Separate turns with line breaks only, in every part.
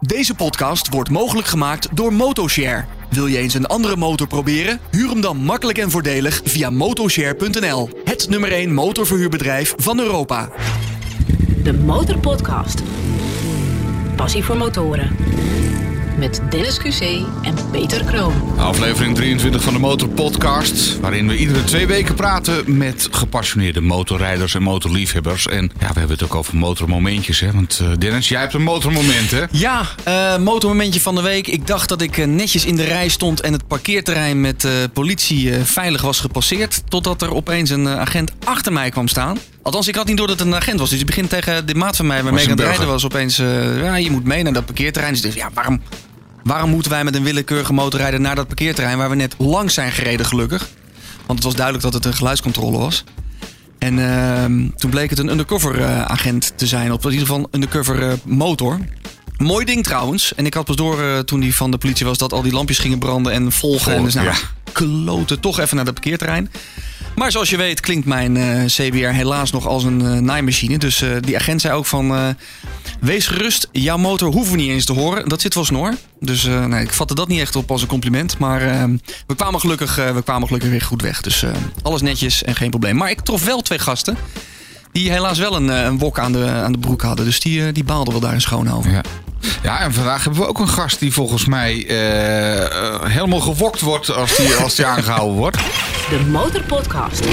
Deze podcast wordt mogelijk gemaakt door Motoshare. Wil je eens een andere motor proberen? Huur hem dan makkelijk en voordelig via motoshare.nl. Het nummer 1 motorverhuurbedrijf van Europa.
De Motorpodcast. Passie voor motoren. Met Dennis QC en Peter Kroon.
Aflevering 23 van de Motor Podcast, waarin we iedere twee weken praten met gepassioneerde motorrijders en motorliefhebbers. En ja, we hebben het ook over motormomentjes, hè? Want eh, Dennis, jij hebt een motormoment, hè?
Ja, eh, motormomentje van de week. Ik dacht dat ik eh, netjes in de rij stond en het parkeerterrein met eh, politie eh, veilig was gepasseerd. Totdat er opeens een eh, agent achter mij kwam staan. Althans, ik had niet door dat het een agent was. Dus die begint tegen de maat van mij waarmee
een
ik aan het
burger.
rijden was. Opeens, eh, ja, je moet mee naar dat parkeerterrein. Dus ik dacht, ja, waarom, waarom moeten wij met een willekeurige motorrijder naar dat parkeerterrein waar we net langs zijn gereden, gelukkig? Want het was duidelijk dat het een geluidscontrole was. En ehm, toen bleek het een undercover eh, agent te zijn. Of in ieder geval een undercover eh, motor. Mooi ding trouwens. En ik had pas door eh, toen die van de politie was dat al die lampjes gingen branden en volgen.
Goh,
en dus nou,
ja.
kloten toch even naar dat parkeerterrein. Maar zoals je weet klinkt mijn eh, CBR helaas nog als een eh, naaimachine. Dus eh, die agent zei ook van... eh, Wees gerust, jouw motor hoeven we niet eens te horen. Dat zit wel snor. Dus eh, nee, ik vatte dat niet echt op als een compliment. Maar eh, we, kwamen gelukkig, eh, we kwamen gelukkig weer goed weg. Dus eh, alles netjes en geen probleem. Maar ik trof wel twee gasten. Die helaas wel een, eh, een wok aan de, aan de broek hadden. Dus die, eh, die baalden wel daar in schoon over.
Ja. Ja, en vandaag hebben we ook een gast die volgens mij eh, eh, helemaal gewokt wordt als die, als die aangehouden wordt.
De Motorpodcast.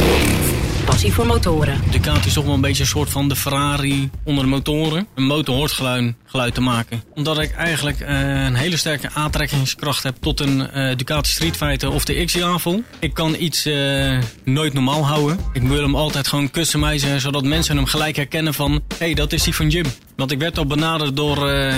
Passie voor motoren.
De kaart is toch wel een beetje een soort van de Ferrari onder de motoren. Een motor hoort geluid, geluid te maken. Omdat ik eigenlijk eh, een hele sterke aantrekkingskracht heb tot een eh, Ducati Street Fighter of de X-Javel. Ik kan iets eh, nooit normaal houden. Ik wil hem altijd gewoon customizen, zodat mensen hem gelijk herkennen van... Hé, hey, dat is die van Jim. Want ik werd al benaderd door eh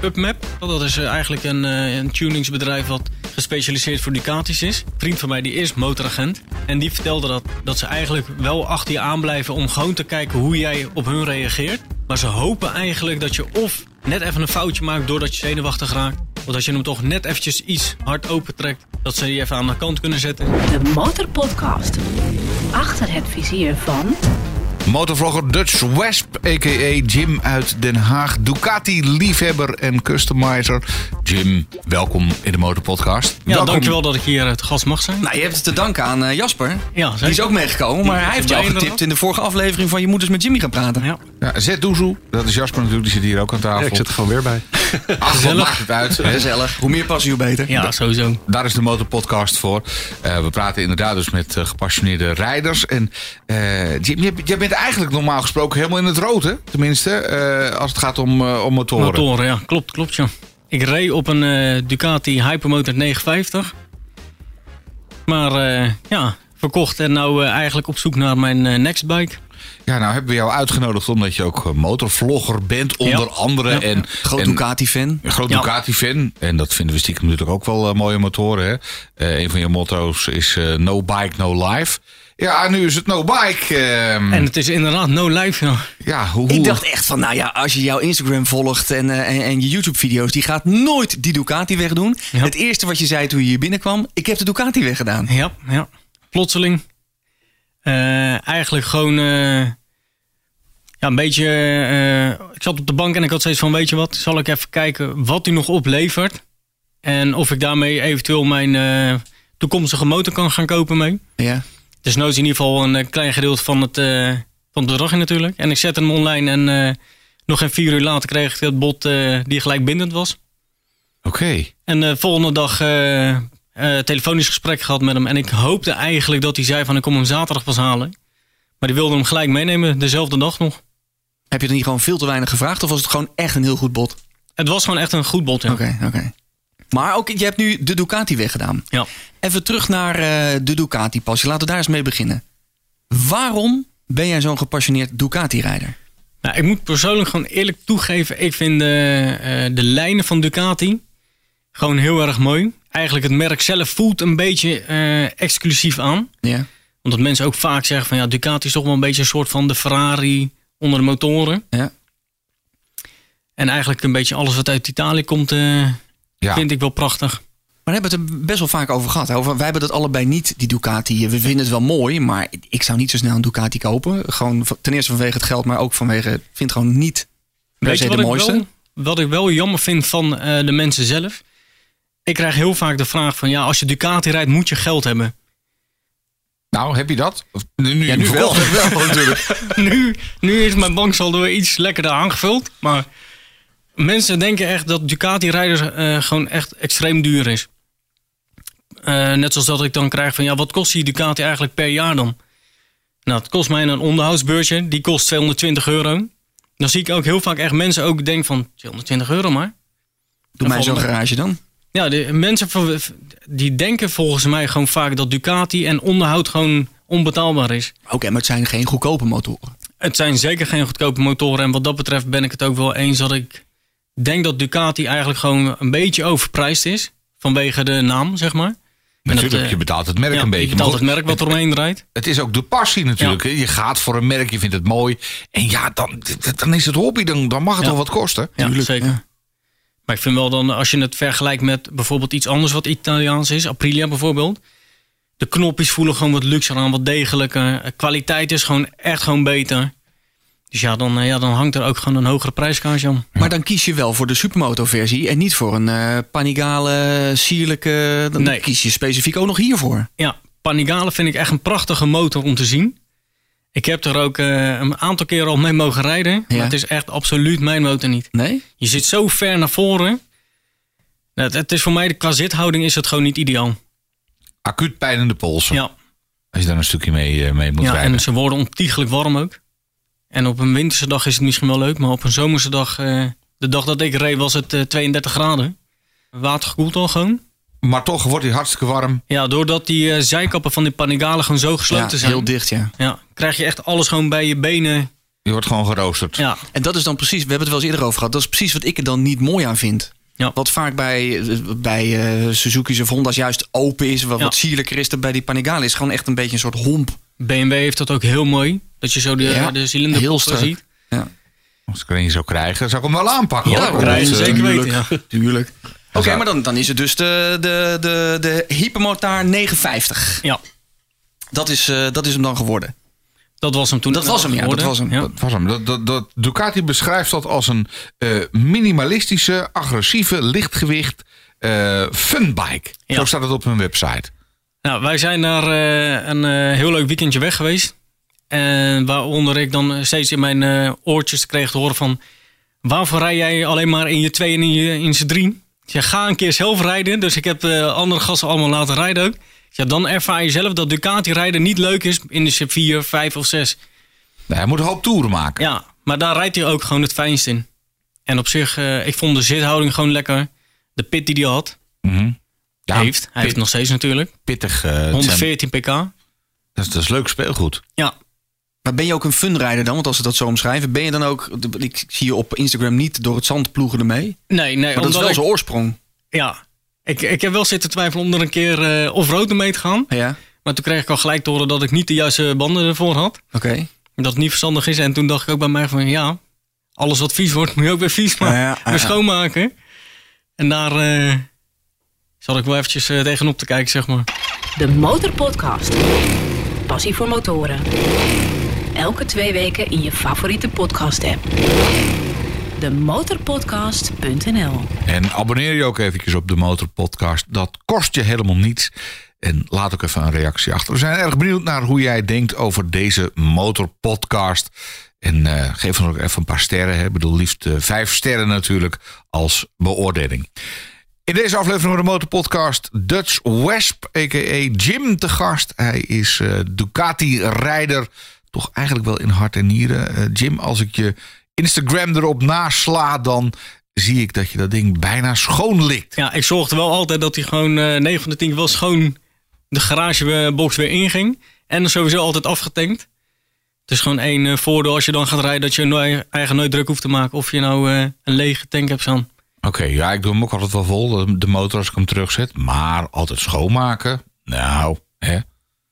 PubMap. Dat is eh, eigenlijk een, eh, een tuningsbedrijf wat gespecialiseerd voor Ducatis is. Een vriend van mij die is motoragent. En die vertelde dat, dat ze eigenlijk wel achter je aanblijven om gewoon te kijken hoe jij op hun reageert. Maar ze hopen eigenlijk dat je of net even een foutje maakt doordat je zenuwachtig raakt. Of dat je hem toch net eventjes iets hard opentrekt. Dat ze je even aan de kant kunnen zetten.
De Motorpodcast. Achter het vizier van
Motorvlogger Dutch Wesp, a.k.a. Jim uit Den Haag. Ducati-liefhebber en customizer. Jim, welkom in de Motorpodcast.
Ja,
Welkom.
dankjewel dat ik hier eh, te gast mag zijn.
Nou, je hebt het te danken aan eh, Jasper.
Ja,
die is
zeker.
ook meegekomen. Maar hij heeft jou
Bijna.
getipt in de vorige aflevering van Je moet eens met Jimmy gaan praten.
Ja.
Ja, Zet Nou, Doezoe, dat is Jasper natuurlijk, die zit hier ook aan tafel.
Ja, ik zit er gewoon weer bij.
Ach, wat
Gezellig.
maakt het uit. hè?
Gezellig. Hoe meer passie, hoe beter.
ja, sowieso.
Daar is de Motorpodcast voor. Eh, we praten inderdaad dus met eh, gepassioneerde rijders. En eh, Jim, jij- jij bent eigenlijk normaal gesproken helemaal in het rood, hè? Tenminste, eh, als het gaat om, eh, om motoren.
Motoren, ja. Klopt, klopt, ja. Ik reed op een eh, Ducati Hypermotor 950. Maar eh, ja, verkocht en nou eh, eigenlijk op zoek naar mijn eh, next bike.
Ja, nou hebben we jou uitgenodigd omdat je ook eh, motorvlogger bent, onder
Ja.
andere.
Ja.
En,
Groot
en-
Ducati-fan.
Een groot
Ja.
Ducati-fan. En dat vinden we stiekem natuurlijk ook wel eh, mooie motoren. Hè? Eh, een van je motto's is eh, no bike, no life. Ja, nu is het no bike. ehm.
En het is inderdaad no life, ja.
ja, hoe,
Ik
hoe-
dacht echt van, nou ja, als je jouw Instagram volgt en, eh, en, en je YouTube-video's, die gaat nooit die Ducati wegdoen.
Ja.
Het eerste wat je zei toen je hier binnenkwam, ik heb de Ducati weggedaan.
Ja, ja. Plotseling. Eh, eigenlijk gewoon eh, ja, een beetje... eh, ik zat op de bank en ik had steeds van, weet je wat, zal ik even kijken wat u nog oplevert. En of ik daarmee eventueel mijn eh, toekomstige motor kan gaan kopen mee.
Ja.
Dus nou is in ieder geval een eh, klein gedeelte van het, eh, van het bedrag in natuurlijk. En ik zette hem online en eh, nog geen vier uur later kreeg ik dat bod eh, die gelijk bindend was.
Oké.
En de volgende dag eh, eh, telefonisch gesprek gehad met hem. En ik hoopte eigenlijk dat hij zei van ik kom hem zaterdag pas halen. Maar die wilde hem gelijk meenemen, dezelfde dag nog.
Heb je er niet gewoon veel te weinig gevraagd of was het gewoon echt een heel goed bod?
Het was gewoon echt een goed bod, ja.
Oké, oké. Maar ook, je hebt nu de Ducati weggedaan.
Ja.
Even terug naar eh, de Ducati-passie. Laten we daar eens mee beginnen. Waarom ben jij zo'n gepassioneerd Ducati-rijder?
Nou, ik moet persoonlijk gewoon eerlijk toegeven, ik vind eh, eh, de lijnen van Ducati gewoon heel erg mooi. Eigenlijk het merk zelf voelt een beetje eh, exclusief aan.
Ja.
Omdat mensen ook vaak zeggen van ja, Ducati is toch wel een beetje een soort van de Ferrari onder de motoren.
Ja.
En eigenlijk een beetje alles wat uit Italië komt, eh,
Ja.
vind ik wel prachtig.
Maar daar hebben we het er best wel vaak over gehad. hè. Over, wij hebben dat allebei niet, die Ducati. We vinden het wel mooi, maar ik zou niet zo snel een Ducati kopen. Gewoon v- ten eerste vanwege het geld, maar ook vanwege... Ik vind het gewoon niet per se de
ik
mooiste.
wel Wat ik wel jammer vind van eh, de mensen zelf. Ik krijg heel vaak de vraag van ja, als je Ducati rijdt moet je geld hebben.
Nou, heb je dat? Of- Nu, nu,
nu wel.
wel natuurlijk.
nu, nu is mijn banksaldo weer iets lekkerder aangevuld. Maar mensen denken echt dat Ducati-rijders eh, gewoon echt extreem duur is. Eh, net zoals dat ik dan krijg van ja, wat kost die Ducati eigenlijk per jaar dan? Nou, het kost mij een onderhoudsbeurtje, die kost 220 euro. Dan zie ik ook heel vaak echt mensen ook denken van 220 euro maar.
Doe mij zo'n garage dan.
Ja, de mensen ver- die denken volgens mij gewoon vaak dat Ducati en onderhoud gewoon onbetaalbaar is.
Oké, maar het zijn geen goedkope motoren.
Het zijn zeker geen goedkope motoren. En wat dat betreft ben ik het ook wel eens dat ik denk dat Ducati eigenlijk gewoon een beetje overprijsd is. Vanwege de naam, zeg maar. dat,
natuurlijk,
eh,
je betaalt het merk
ja,
een beetje.
Je betaalt
maar
het merk wat eromheen rijdt.
het is ook de passie natuurlijk. hè. Je gaat voor een merk, je vindt het mooi. En ja, dan, dan is het hobby, dan, dan mag het
Ja.
wel wat kosten.
Ja, zeker. Maar ik vind wel dan, als je het vergelijkt met bijvoorbeeld iets anders wat Italiaans is. Aprilia bijvoorbeeld. De knopjes voelen gewoon wat luxer aan, wat degelijker. Eh, Kwaliteit is gewoon echt gewoon beter. Dus ja, dan, eh, ja, dan hangt er ook gewoon een hogere prijskaartje aan.
Maar dan kies je wel voor de supermoto-versie en niet voor een eh, panigale, sierlijke. Dan
Nee.
kies je specifiek ook nog hiervoor.
Ja, Panigale vind ik echt een prachtige motor om te zien. Ik heb er ook eh, een aantal keren al mee mogen rijden. Maar
Ja.
het is echt absoluut mijn motor niet.
Nee?
Je zit zo ver naar voren. Het, het is voor mij, qua zithouding is het gewoon niet ideaal.
Acuut pijn in de polsen.
Ja,
Als je daar een stukje mee, eh, mee moet
ja
rijden.
en ze worden ontiegelijk warm ook. En op een winterse dag is het misschien wel leuk. Maar op een zomerse dag, eh, de dag dat ik reed, was het eh, 32 graden. Watergekoeld al gewoon.
Maar toch wordt hij hartstikke warm.
Ja, doordat die eh, zijkappen van die Panigale gewoon zo
Ja,
gesloten zijn.
heel dicht, ja.
Ja, krijg je echt alles gewoon bij je benen.
Je wordt gewoon geroosterd.
Ja,
En dat is dan precies, we hebben het wel eens eerder over gehad, dat is precies wat ik er dan niet mooi aan vind.
Ja.
Wat vaak bij, eh, bij eh, Suzuki's of Honda's juist open is, wat,
Ja.
wat sierlijker is dan bij die Panigale, is gewoon echt een beetje een soort homp.
BMW heeft dat ook heel mooi. Dat je zo de,
Ja,
de cilinderpoppen
strak.
ziet.
Ja.
Als ik er een zou krijgen, zou ik hem wel aanpakken.
Ja,
hoor.
krijgen,
Want, eh,
zeker weten. Ja.
Tuurlijk. Oké,
zou-
maar dan, dan is het dus de, de, de, de Hypermotar 950.
Ja,
Dat is, eh, dat is hem dan geworden.
dat was hem toen. eh,
Dat was hem, ja, dat
geworden.
was hem.
Ja.
Dat was hem. Dat, dat, dat, Ducati beschrijft dat als een eh, minimalistische, agressieve, lichtgewicht eh, funbike.
Ja.
Zo staat het op hun website.
Nou, wij zijn daar eh, een eh, heel leuk weekendje weg geweest. En waaronder ik dan steeds in mijn eh, oortjes kreeg te horen van... Waarvoor rij jij alleen maar in je twee en in, je, in z'n drie? Ik zeg, ga een keer zelf rijden. Dus ik heb eh, andere gasten allemaal laten rijden ook. Ik zeg, dan ervaar je zelf dat Ducati rijden niet leuk is in de Sub 4, 5 of 6.
Nou, hij moet een hoop toeren maken.
Ja, maar daar rijdt hij ook gewoon het fijnst in. En op zich, eh, ik vond de zithouding gewoon lekker. De pit die hij had,
Mhm. Ja,
heeft. Hij heeft nog steeds natuurlijk.
pittig. eh, het zijn-
114 pk.
dat, is, dat is leuk speelgoed.
Ja,
Maar ben je ook een funrijder dan? Want als ze dat zo omschrijven, ben je dan ook... Ik zie je op Instagram niet door het zand ploegen ermee. Maar
nee, nee.
dat is
omdat
wel
ik-
zijn oorsprong.
Ja, ik, ik heb wel zitten twijfelen om er een keer eh, off-road mee te gaan.
Ja,
Maar toen kreeg ik al gelijk te horen dat ik niet de juiste banden ervoor had.
oké.
Dat het niet verstandig is. En toen dacht ik ook bij mij van ja, alles wat vies wordt moet je ook weer vies maken.
Ja, ja, ja.
weer schoonmaken. En daar eh, zat ik wel eventjes eh, tegenop te kijken, zeg maar.
De Motorpodcast. Passie voor motoren. Elke twee weken in je favoriete podcast app. De Motorpodcast.nl.
En abonneer je ook eventjes op de Motorpodcast. Dat kost je helemaal niets. En laat ook even een reactie achter. We zijn erg benieuwd naar hoe jij denkt over deze Motorpodcast. En eh, geef dan ook even een paar sterren. Hè. Ik bedoel, liefst eh, vijf sterren natuurlijk als beoordeling. In deze aflevering van de Motorpodcast Dutch Wesp, a.k.a. Jim, te gast. Hij is eh, Ducati-rijder, toch eigenlijk wel in hart en nieren. Eh, Jim, als ik je Instagram erop nasla, dan zie ik dat je dat ding bijna schoon likt.
Ja, ik zorgde wel altijd dat hij gewoon eh 9 van de 10 keer wel schoon de garagebox weer inging. En er sowieso altijd afgetankt. Het is gewoon één eh, voordeel als je dan gaat rijden dat je nooit, eigen nooit druk hoeft te maken of je nou eh, een lege tank hebt staan.
Oké, ja, ik doe hem ook altijd wel vol, de motor, als ik hem terugzet. Maar altijd schoonmaken, nou, hè.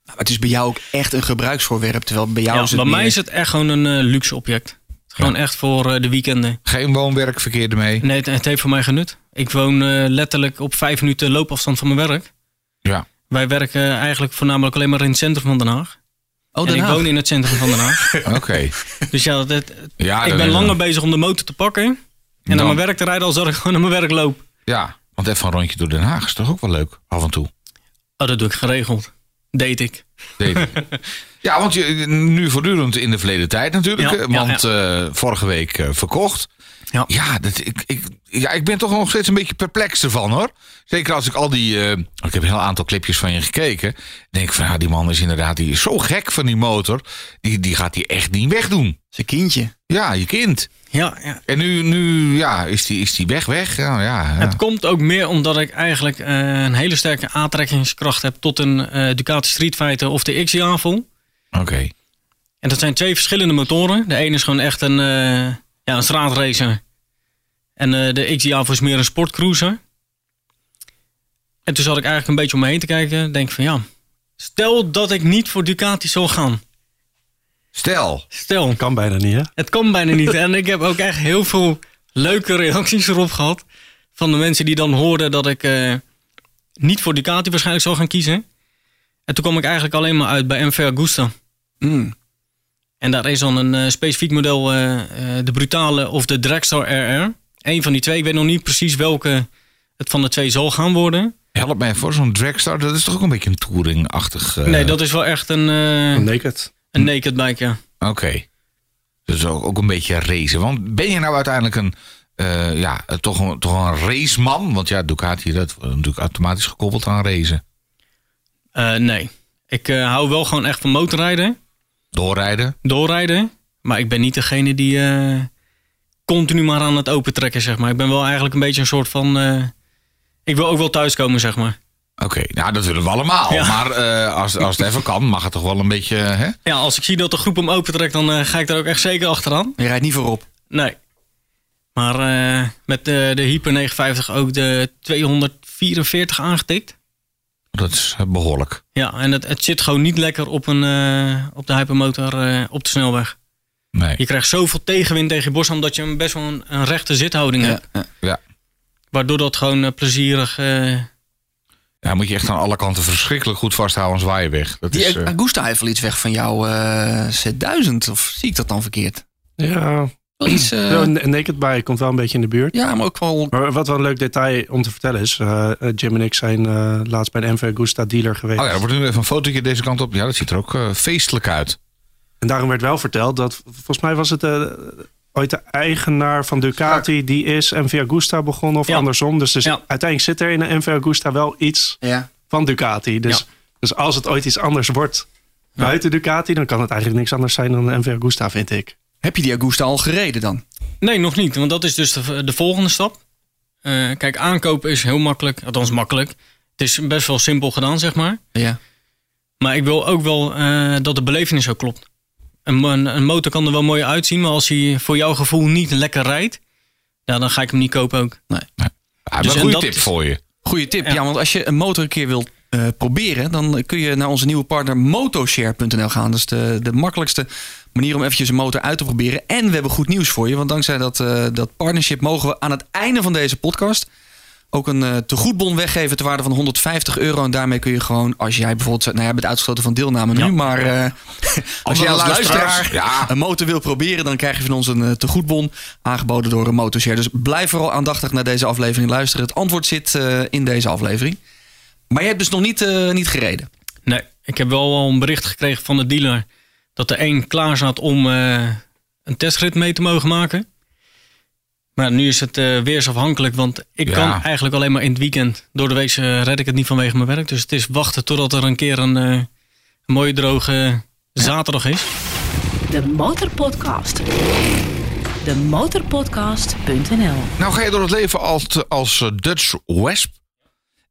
Maar het is bij jou ook echt een gebruiksvoorwerp. Terwijl bij jou
Ja,
is het
bij mij
meer-
is het echt gewoon een eh, luxe object. Gewoon echt voor eh, de weekenden.
Geen woonwerkverkeer ermee.
Nee, het, het heeft voor mij genut. Ik woon eh, letterlijk op vijf minuten loopafstand van mijn werk.
Ja.
Wij werken eigenlijk voornamelijk alleen maar in het centrum van Den Haag.
Oh,
en
Den
ik
Haag.
woon in het centrum van Den Haag.
Oké.
dus ja, dat,
Ja,
ik
dan-
ben langer bezig om de motor te pakken En
Dan.
naar mijn werk te rijden als dat ik gewoon naar mijn werk loop.
Ja, want even een rondje door Den Haag is toch ook wel leuk, af en toe.
Oh, dat doe ik geregeld. Deed ik.
Deed ik. ja, want je, nu voortdurend in de verleden tijd natuurlijk.
Ja,
eh,
ja,
want eh, vorige week eh, verkocht.
Ja.
Ja, dat, ik, ik, ja, ik ben toch nog steeds een beetje perplex ervan hoor. Zeker als ik al die... eh, ik heb een heel aantal clipjes van je gekeken. Dan denk ik van, ja, die man is inderdaad die is zo gek van die motor. Die, die gaat die echt niet wegdoen.
Zijn kindje.
Ja, je kind.
Ja, ja.
En nu, nu ja, is die, is die weg weg. Nou, ja, ja.
Het komt ook meer omdat ik eigenlijk eh, een hele sterke aantrekkingskracht heb tot een eh Ducati Street Fighter of de XJ-aanval.
Oké.
En dat zijn twee verschillende motoren. De ene is gewoon echt een, eh, ja, een straatracer. En eh, de XJ-aanval is meer een sportcruiser. En toen zat ik eigenlijk een beetje om me heen te kijken. Denk van ja, stel dat ik niet voor Ducati zou gaan.
Stel.
Stel.
Kan bijna niet, hè?
Het kan bijna niet. En ik heb ook echt heel veel leuke reacties erop gehad. Van de mensen die dan hoorden dat ik eh, niet voor Ducati waarschijnlijk zou gaan kiezen. En toen kwam ik eigenlijk alleen maar uit bij MV Agusta.
Mm.
En daar is dan een eh, specifiek model, eh, eh, de Brutale of de Dragstar RR. Eén van die twee. Ik weet nog niet precies welke het van de twee zal gaan worden.
Help mij voor zo'n dragstar. Dat is toch ook een beetje een touring-achtig... eh,
Nee, dat is wel echt een, eh,
Naked.
een naked bike, ja.
Oké. Dus ook, ook een beetje racen. Want ben je nou uiteindelijk een, eh, ja, eh, toch een, toch een raceman? Want ja, Ducati, dat wordt natuurlijk automatisch gekoppeld aan racen.
Eh, nee. Ik eh, hou wel gewoon echt van motorrijden.
Doorrijden.
doorrijden. Maar ik ben niet degene die eh, continu maar aan het opentrekken, zeg maar. Ik ben wel eigenlijk een beetje een soort van... eh, ik wil ook wel thuiskomen, zeg maar.
Oké, nou dat willen we allemaal.
Ja.
Maar eh, als, als het even kan, mag het toch wel een beetje... Hè?
Ja, als ik zie dat de groep hem opentrekt, dan eh, ga ik daar ook echt zeker achteraan.
Je rijdt niet voorop.
Nee. Maar eh, met de, de Hyper 950 ook de 244 aangetikt.
Dat is eh, behoorlijk.
Ja, en het, het zit gewoon niet lekker op, een, eh, op de hypermotor eh, op de snelweg.
Nee.
Je krijgt zoveel tegenwind tegen je borst, omdat je hem best wel een, een rechte zithouding
Ja.
hebt.
Ja.
Waardoor dat gewoon eh, plezierig... eh,
ja, moet je echt aan alle kanten verschrikkelijk goed vasthouden en zwaaien weg. Dat
Die
is, eh,
Augusta heeft wel iets weg van jouw eh, Z1000. Of zie ik dat dan verkeerd?
Ja,
Wel iets, eh,
Ja, een naked bike komt wel een beetje in de buurt.
ja, maar ook wel...
Maar wat wel een leuk detail om te vertellen is... eh, eh, Jim en ik zijn eh, laatst bij de MV Gusta dealer geweest.
Oh ja, er wordt nu even een fotootje deze kant op. Ja, dat ziet er ook eh, feestelijk uit.
En daarom werd wel verteld dat... Volgens mij was het eh, ooit de eigenaar van Ducati... die is MV Agusta begonnen of
Ja.
andersom. Dus, dus
Ja.
uiteindelijk zit er in de MV Agusta wel iets
Ja.
van Ducati. Dus, dus als het ooit iets anders wordt buiten Ducati... dan kan het eigenlijk niks anders zijn dan de MV Agusta, vind ik.
Heb je die Augusta al gereden dan?
Nee, nog niet. Want dat is dus de, de volgende stap. Eh, kijk, aankopen is heel makkelijk. Althans, makkelijk. Het is best wel simpel gedaan, zeg maar.
Ja.
Maar ik wil ook wel eh, dat de belevenis ook klopt. Een, mo- een, een motor kan er wel mooi uitzien, maar als hij voor jouw gevoel niet lekker rijdt, ja, dan ga ik hem niet kopen ook.
Ah,
Dus
een
en
goede
dat
tip
is-
voor je.
Goeie tip. Ja.
Ja.
want als je een motor een keer wilt eh, proberen, dan kun je naar onze nieuwe partner motoshare.nl gaan. Dat is de, de makkelijkste manier om eventjes een motor uit te proberen. En we hebben goed nieuws voor je, want dankzij dat, eh, dat partnership mogen we aan het einde van deze podcast ook een eh tegoedbon weggeven ter waarde van 150 euro. En daarmee kun je gewoon, als jij bijvoorbeeld... Nou, jij bent uitgesloten van deelname nu,
Ja.
maar eh, als jij als
luisteraars,
luisteraar
ja.
een motor wil proberen... dan krijg je van ons een eh, tegoedbon aangeboden door een motorshare. Dus blijf vooral aandachtig naar deze aflevering luisteren. Het antwoord zit eh, in deze aflevering. Maar je hebt dus nog niet, eh, niet gereden.
Nee, ik heb wel al een bericht gekregen van de dealer dat er één klaar zat om eh, een testrit mee te mogen maken. Maar nu is het eh, weersafhankelijk, want ik
Ja.
kan eigenlijk alleen maar in het weekend. Door de week eh, red ik het niet vanwege mijn werk. Dus het is wachten totdat er een keer een, eh, een mooie droge zaterdag is.
De Motorpodcast. De Motorpodcast.nl
Nou ga je door het leven als, als eh, Dutch Wesp.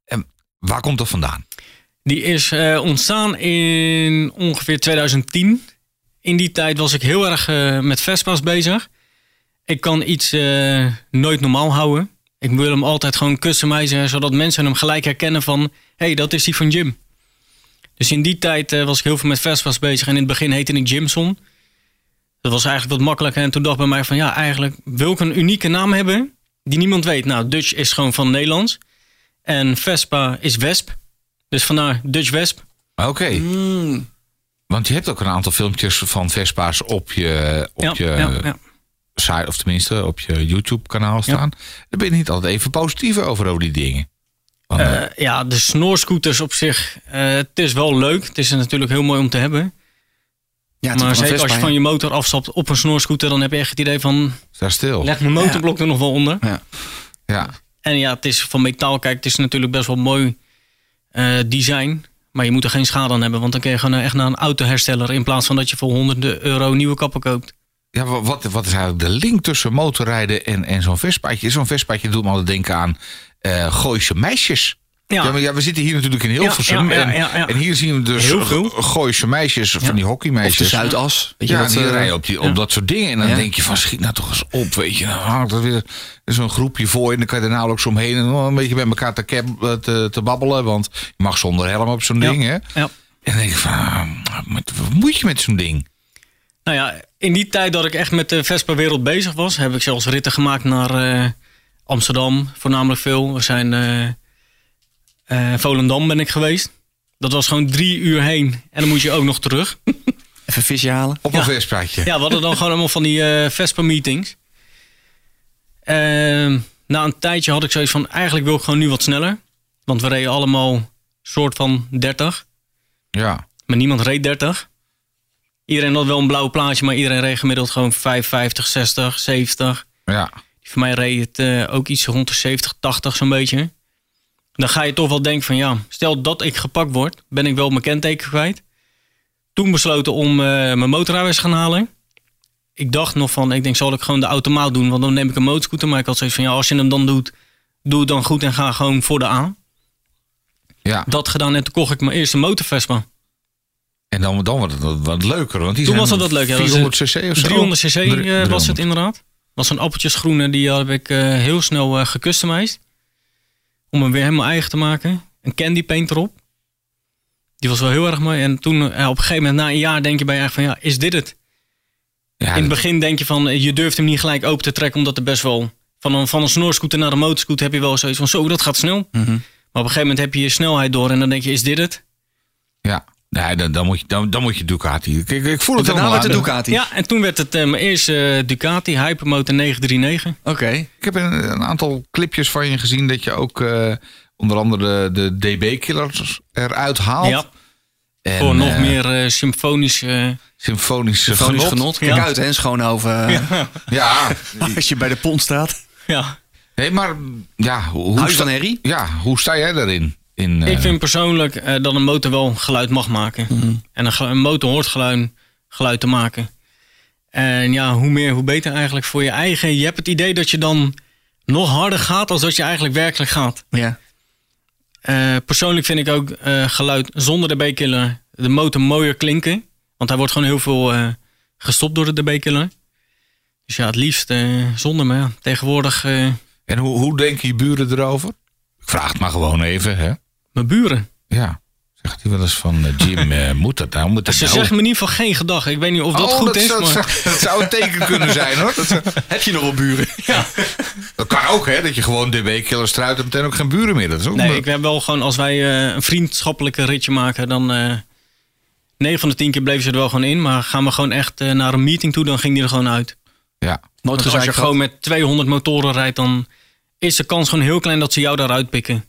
En waar komt dat vandaan?
Die is eh, ontstaan in ongeveer 2010. In die tijd was ik heel erg eh, met Vespa's bezig. Ik kan iets eh, nooit normaal houden. Ik wil hem altijd gewoon customizen, zodat mensen hem gelijk herkennen van... hé, hey, dat is die van Jim. Dus in die tijd eh, was ik heel veel met Vespa's bezig. En in het begin heette ik Jimson. Dat was eigenlijk wat makkelijker. En toen dacht bij mij van, ja, eigenlijk wil ik een unieke naam hebben... die niemand weet. Nou, Dutch is gewoon van Nederlands. En Vespa is Wesp. Dus vandaar Dutch Wesp.
Oké, want je hebt ook een aantal filmpjes van Vespa's op je, op
ja,
je
ja, ja.
site, of tenminste op je YouTube-kanaal staan, dan ben je niet altijd even positief over over die dingen. Want, eh,
Eh, ja, de snorscooters op zich, eh, het is wel leuk. Het is natuurlijk heel mooi om te hebben.
Ja, het is
maar
van een
zeker als je
Vespa,
van je motor afstapt op een snorscooter, dan heb je echt het idee van,
sta stil.
leg mijn motorblok er nog wel onder.
Ja.
En ja, het is van metaal, kijk, het is natuurlijk best wel mooi eh, design. Maar je moet er geen schade aan hebben, want dan kun je gewoon eh, echt naar een autohersteller. In plaats van dat je voor honderden euro nieuwe kappen koopt.
Ja, wa- wat, wat is eigenlijk de link tussen motorrijden en, en zo'n Vespaatje? Zo'n Vespaatje doet me altijd denken aan eh Gooise meisjes. Ja. maar ja, we zitten hier natuurlijk in Hilversum.
Ja, ja, ja,
en-
ja, ja.
En hier zien we dus
Heel veel.
Go- Gooise meisjes, van die
Of de
hockeymeisjes.
Zuidas. Weet je
ja,
dat,
die
eh,
rijden op, die, op dat soort dingen. En dan
Ja.
denk je van, schiet nou toch eens op, weet je. Nou, hangt er weer zo'n groepje voor en dan kan je er nauwelijks omheen. En dan een beetje bij elkaar te, keb- eh, te, te babbelen. Want je mag zonder helm op zo'n
Ja.
ding, hè.
Ja.
En dan denk je van, ah, wat wat moet je met zo'n ding?
Nou ja, in die tijd dat ik echt met de Vespa-wereld bezig was, heb ik zelfs ritten gemaakt naar eh, Amsterdam, voornamelijk veel. We zijn eh, eh, Volendam ben ik geweest. Dat was gewoon drie uur heen en dan moet je ook nog terug.
Even visje halen.
Op een
Ja.
Vespaatje.
Ja, we hadden dan gewoon allemaal van die eh, Vespa-meetings. Ehm, na een tijdje had ik zoiets van, eigenlijk wil ik gewoon nu wat sneller. Want we reden allemaal soort van 30,
ja.
maar niemand reed 30. Iedereen had wel een blauw plaatje, maar iedereen reed gemiddeld gewoon 55, 60, 70.
ja.
Voor mij reed het eh, ook iets rond de 70, 80 zo'n beetje. Dan ga je toch wel denken van ja, stel dat ik gepakt word, ben ik wel mijn kenteken kwijt. Toen besloten om eh, mijn motorrijbewijs te gaan halen. Ik dacht nog van, ik denk zal ik gewoon de automaat doen, want dan neem ik een motorscooter. Maar ik had zoiets van ja, als je hem dan doet, doe het dan goed en ga gewoon voor de A.
ja.
Dat gedaan en toen kocht ik mijn eerste motorvespa.
En dan, dan wordt het wat, wat leuker. Want die
Toen
zijn
was dat wat leuker, ja. Dat is
400 cc of zo.
300 cc eh,
Drie-
was
300.
het inderdaad. was een appeltjesgroene, die heb ik eh, heel snel eh gecustomized. Om hem weer helemaal eigen te maken. Een candy paint erop. Die was wel heel erg mooi. En toen eh, op een gegeven moment, na een jaar, denk je bij je eigenlijk van ja, is dit het?
Ja,
In het begin denk je van, eh, je durft hem niet gelijk open te trekken, omdat er best wel... Van een, van een snorscooter naar een motorscooter heb je wel zoiets van, zo, dat gaat snel.
Mhm.
Maar op een gegeven moment heb je je snelheid door en dan denk je, is dit het?
ja. Nee, dan, dan, moet je, dan, dan moet je Ducati. Ik, ik, ik voel het
Daarna
helemaal
werd de
aan.
Ducati.
Ja, en toen werd het eh, mijn eerste eh, Ducati Hypermotor 939.
Oké.
Ik heb een, een aantal clipjes van je gezien dat je ook eh, onder andere de, de DB-killers eruit haalt.
Ja,
En,
voor nog
eh,
meer eh, symfonisch. eh,
Symfonisch,
Gewoon
genot.
genot. Kijk
Ja.
uit, hè, Schoonhoven. eh,
Ja,
Als je bij de pont staat.
ja.
nee, maar ja, hoe, hoe
Hou je
sta,
van herrie?
ja, hoe sta jij daarin? In, eh,
Ik vind persoonlijk eh, dat een motor wel geluid mag maken.
Mhm.
En een, gelu- een motor hoort geluid, geluid te maken. En ja, hoe meer, hoe beter eigenlijk voor je eigen. Je hebt het idee dat je dan nog harder gaat dan dat je eigenlijk werkelijk gaat.
Ja.
Eh, persoonlijk vind ik ook eh, geluid zonder de B-killer de motor mooier klinken. Want hij wordt gewoon heel veel eh, gestopt door de DB-killer. Dus ja, het liefst eh, zonder. Maar ja, tegenwoordig eh,
En hoe, hoe denken je buren erover? Ik vraag het maar gewoon even, hè?
mijn buren.
Ja. Zegt hij wel eens van, eh, Jim, eh, moet dat nou? Moet dat
Ze
nou?
zeggen me in ieder geval geen gedag. Ik weet niet of dat
Oh,
goed
dat
is.
zou,
maar...
dat zou een teken kunnen zijn, hoor. Dat,
Heb je nog wel buren?
dat kan ook, hè? Dat je gewoon DB-killers eruit hebt en ook geen buren meer. Dat is ook
Nee,
een-
ik heb wel gewoon, als wij eh, een vriendschappelijke ritje maken, dan. eh 9 van de 10 keer bleven ze er wel gewoon in. Maar gaan we gewoon echt eh, naar een meeting toe, dan ging die er gewoon uit.
Ja.
Want
Nooit
als je
gezegd.
gewoon met 200 motoren rijdt, dan is de kans gewoon heel klein dat ze jou daaruit pikken.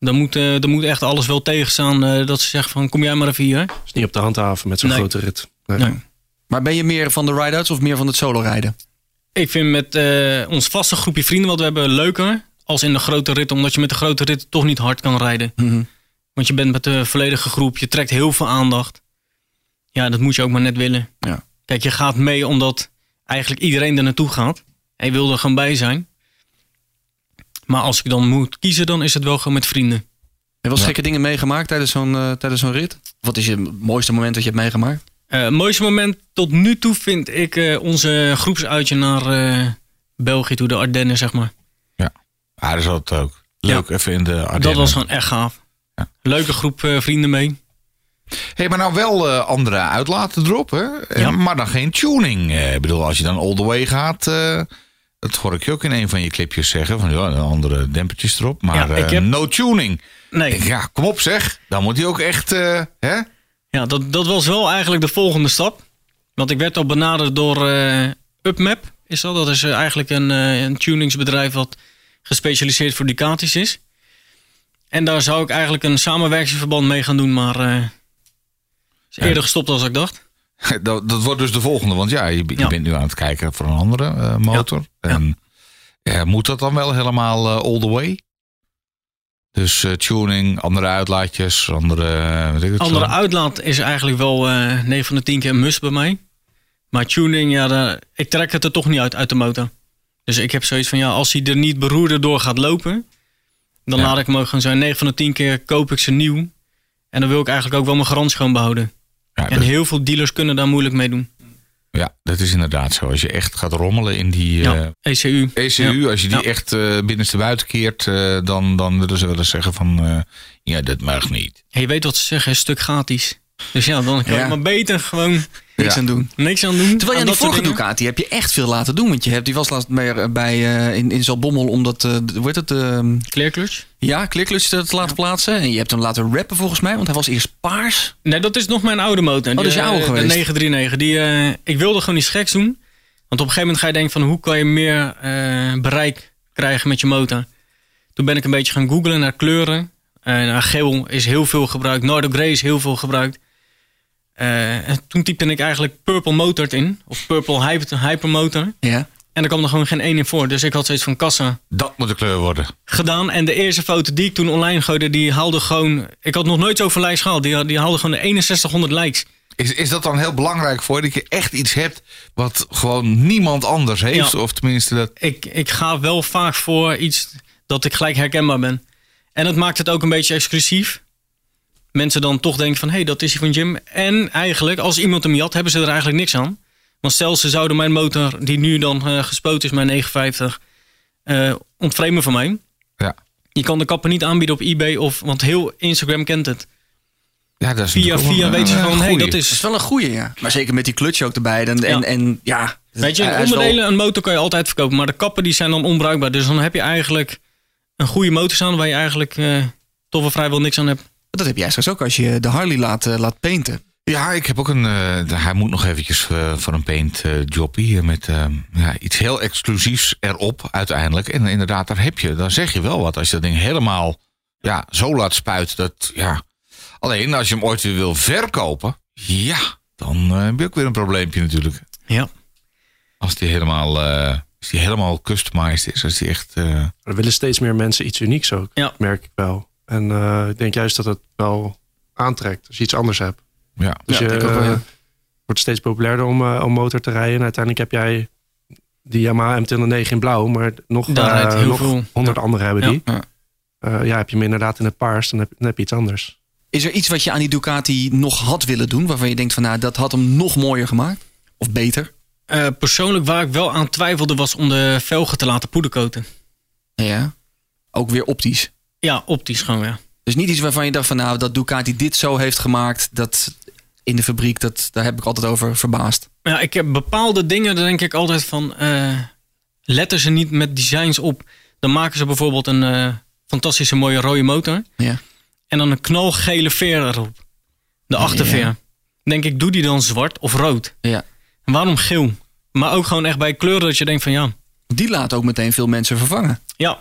Dan moet, eh, dan moet echt alles wel tegenstaan eh, dat ze zeggen van kom jij maar even hier.
is niet op de handhaven met zo'n
Nee.
grote rit. Nee.
Nee.
Maar ben je meer van de ride-outs of meer van het solo rijden?
Ik vind met eh, ons vaste groepje vrienden wat we hebben leuker als in de grote rit. Omdat je met de grote rit toch niet hard kan rijden. Want je bent met de volledige groep, je trekt heel veel aandacht. Ja, dat moet je ook maar net willen.
Ja.
Kijk, je gaat mee omdat eigenlijk iedereen er naartoe gaat. En je wil er gewoon bij zijn. Maar als ik dan moet kiezen, dan is het wel gewoon met vrienden.
Heb je wel eens gekke dingen meegemaakt tijdens zo'n eh, tijdens zo'n rit? Wat is je mooiste moment dat je hebt meegemaakt?
Eh, het mooiste moment tot nu toe vind ik eh, onze groepsuitje naar eh, België toe, de Ardennen, zeg maar.
Ah, dat is altijd ook. Leuk, even in de Ardennen.
Dat was gewoon echt gaaf.
Ja.
Leuke groep eh, vrienden mee.
hey, maar nou wel eh, andere uitlaten erop, hè? Eh,
Ja.
Maar dan geen tuning. Eh, ik bedoel, als je dan all the way gaat... eh, dat hoor ik je ook in een van je clipjes zeggen. Van, ja, andere dempertjes erop. Maar
Ja, ik
eh,
heb-
no tuning. Ik
Nee,
denk, ja, kom op zeg. Dan moet hij ook echt... eh, hè?
ja, dat, dat was wel eigenlijk de volgende stap. Want ik werd al benaderd door eh, UpMap. is dat. Dat is eh, eigenlijk een, eh, een tuningsbedrijf wat gespecialiseerd voor Ducatis is. En daar zou ik eigenlijk een samenwerkingsverband mee gaan doen, maar eh, is eerder gestopt dan ik dacht.
Dat, dat wordt dus de volgende. Want ja, je, je
Ja.
bent nu aan het kijken voor een andere eh, motor. En eh, moet dat dan wel helemaal eh, all the way? Dus eh, tuning, andere uitlaatjes, andere... eh, Weet ik het,
Andere
zo.
uitlaat is eigenlijk wel eh 9 van de 10 keer een must bij mij. Maar tuning, ja, daar- ik trek het er toch niet uit, uit de motor. Dus ik heb zoiets van, ja, als hij er niet beroerder door gaat lopen, dan
Ja.
laat ik hem ook gewoon zijn. 9 van de 10 keer koop ik ze nieuw. En dan wil ik eigenlijk ook wel mijn garant schoon behouden.
Ja, dus-
En
dat-
heel veel dealers kunnen daar moeilijk mee doen.
Ja, dat is inderdaad zo. Als je echt gaat rommelen in die
Ja, E
eh,
ECU.
ECU, als je die
Ja.
echt eh binnenste buiten keert, eh, dan, dan willen ze wel eens zeggen van eh, ja, dat mag niet.
En je weet wat ze zeggen, stuk gratis. Dus ja, dan kan
Ja.
je maar beter gewoon
Niks
Ja.
aan doen.
niks aan doen.
Terwijl je
aan
aan die
dat soort
vorige
dingen.
Ducati heb je echt veel laten doen. Want je hebt die was laatst bij, bij, eh, in, in Zalbommel omdat, eh hoe heet het, eh,
Kleerklus?
ja, klikklutje te te laten plaatsen. En je hebt hem laten rappen volgens mij, want hij was eerst paars.
Nee, dat is nog mijn oude motor.
Oh, dat is je
Die,
oude
eh,
geweest.
De 939. Die, eh, ik wilde gewoon iets geks doen. Want op een gegeven moment ga je denken van hoe kan je meer eh, bereik krijgen met je motor. Toen ben ik een beetje gaan googlen naar kleuren. Eh naar geel is heel veel gebruikt. Nardo Grey is heel veel gebruikt. Eh, en toen typte ik eigenlijk Purple Motard in. Of Purple Hyper, Hypermotor.
Ja.
En er kwam er gewoon geen één in voor. Dus ik had steeds van kassa
Dat moet de kleur worden.
gedaan. En de eerste foto die ik toen online gooide, die haalde gewoon... Ik had nog nooit zoveel likes gehad. Die, die haalde gewoon de 6100 likes.
Is, is dat dan heel belangrijk voor je, dat je echt iets hebt wat gewoon niemand anders heeft?
Ja.
Of tenminste dat.
Ik, ik ga wel vaak voor iets dat ik gelijk herkenbaar ben. En dat maakt het ook een beetje exclusief. Mensen dan toch denken van, hé, hey, dat is die van Jim. En eigenlijk, als iemand hem jat, hebben ze er eigenlijk niks aan. Want stel, ze zouden mijn motor, die nu dan eh, gespoten is, mijn 950, eh ontframen van mij.
Ja,
Je kan de kapper niet aanbieden op eBay, of, want heel Instagram kent het.
ja dat is
Via
natuurlijk wel
via
een-
weet je
een
gewoon, hé, hey,
goeie.
dat
Dat is
is
wel een goeie, ja. Maar zeker met die klutje ook erbij. Dan, en,
Ja.
en ja.
Weet je,
Dus Hij- hij is wel-
onderdelen, een motor kan je altijd verkopen, maar de kappen die zijn dan onbruikbaar. Dus dan heb je eigenlijk een goede motor staan waar je eigenlijk eh toch wel vrijwel niks aan hebt.
Dat heb jij straks ook als je de Harley laat, eh, laat painten.
Ja, ik heb ook een. eh, hij moet nog eventjes eh, voor een paint eh, job hier met eh, ja, iets heel exclusiefs erop uiteindelijk. En inderdaad, daar heb je, daar zeg je wel wat. Als je dat ding helemaal ja, zo laat spuiten, dat ja. Alleen als je hem ooit weer wil verkopen, ja, dan eh, heb je ook weer een probleempje natuurlijk.
Ja.
Als die helemaal, eh, als die helemaal customized is, als die echt. eh,
Er willen steeds meer mensen iets unieks ook,
Ja.
merk ik wel. En eh, ik denk juist dat het wel aantrekt als je iets anders hebt.
ja.
Dus
Ja,
je
denk ik ook wel, ja.
eh, wordt steeds populairder om, eh, om motor te rijden. En uiteindelijk heb jij die Yamaha M209 in blauw, maar nog,
Daar rijdt
eh,
heel
nog
veel.
honderd anderen hebben
Ja.
die.
Ja.
Eh, ja, heb je hem inderdaad in het paars, dan heb, dan heb je iets anders.
Is er iets wat je aan die Ducati nog had willen doen? Waarvan je denkt van nou, dat had hem nog mooier gemaakt? Of beter?
Eh, persoonlijk waar ik wel aan twijfelde was om de velgen te laten poedercoaten.
Ja. Ook weer optisch.
Ja, optisch gewoon, ja.
Dus niet iets waarvan je dacht van nou, dat Ducati dit zo heeft gemaakt. Dat in de fabriek, dat, daar heb ik altijd over verbaasd.
Ja, ik heb bepaalde dingen, daar denk ik altijd van, eh letten ze niet met designs op. Dan maken ze bijvoorbeeld een eh, fantastische mooie rode motor.
Ja.
En dan een knalgele veer erop. De achterveer. Denk ik, doe die dan zwart of rood?
Ja.
En waarom geel? Maar ook gewoon echt bij kleuren dat je denkt van ja.
Die laat ook meteen veel mensen vervangen.
Ja.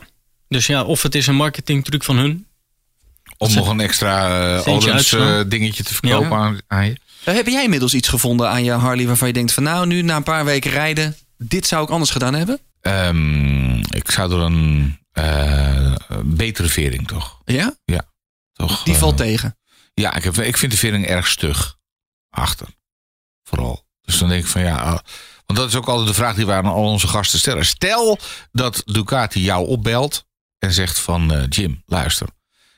Dus ja, of het is een marketingtruc van hun.
Om nog een extra eh
Centje
Olens
uitslaan.
eh, dingetje te verkopen
Ja.
aan, aan je.
Eh, Heb jij inmiddels iets gevonden aan je Harley waarvan je denkt van nou, nu na een paar weken rijden, dit zou ik anders gedaan hebben?
Ehm, ik zou er een eh, betere vering toch?
Ja?
toch
Die
eh,
valt tegen.
Ja, ik, heb, ik vind de vering erg stug. Achter. Vooral. Dus dan denk ik van ja. ah, Want dat is ook altijd de vraag die wij aan al onze gasten stellen. Stel dat Ducati jou opbelt en zegt van eh, Jim, luister.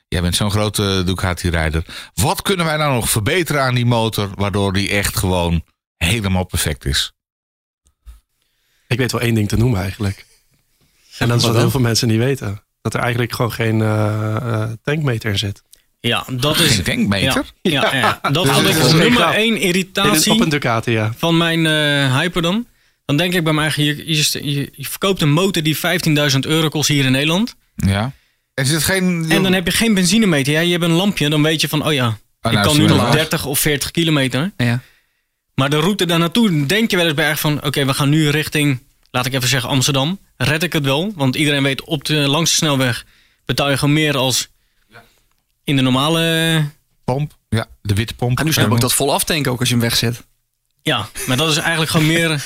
Jij bent zo'n grote Ducati-rijder. Wat kunnen wij nou nog verbeteren aan die motor, waardoor die echt gewoon helemaal perfect is?
Ik weet wel één ding te noemen eigenlijk. En dat is wat heel veel mensen niet weten. Dat er eigenlijk gewoon geen eh, eh, tankmeter in zit.
Ja, dat is.
Geen tankmeter?
Ja, ja, ja. dat
Dus
had
het
ik
is
als
gewoon
nummer
gaaf.
één
In een- op
irritatie
een Ducati, ja.
van mijn eh hyper dan. Dan denk ik bij mij, je, je, je verkoopt een motor die 15.000 euro kost hier in Nederland.
Ja. Er zit geen.
En dan heb je geen benzinemeter. Ja, je hebt een lampje, dan weet je van, oh ja,
nou is
ik kan
het
nu
wel
nog
laag.
30 of 40 kilometer.
Ja.
Maar de route daar naartoe denk je wel eens bij echt van... oké, we gaan nu richting laat ik even zeggen Amsterdam, red ik het wel. Want iedereen weet, op de langste snelweg betaal je gewoon meer als in de normale...
Pomp. Ja, de witte pomp.
En Ah, nu snap ik dat vol aftanken ook als je hem wegzet.
Ja, maar dat is eigenlijk gewoon meer een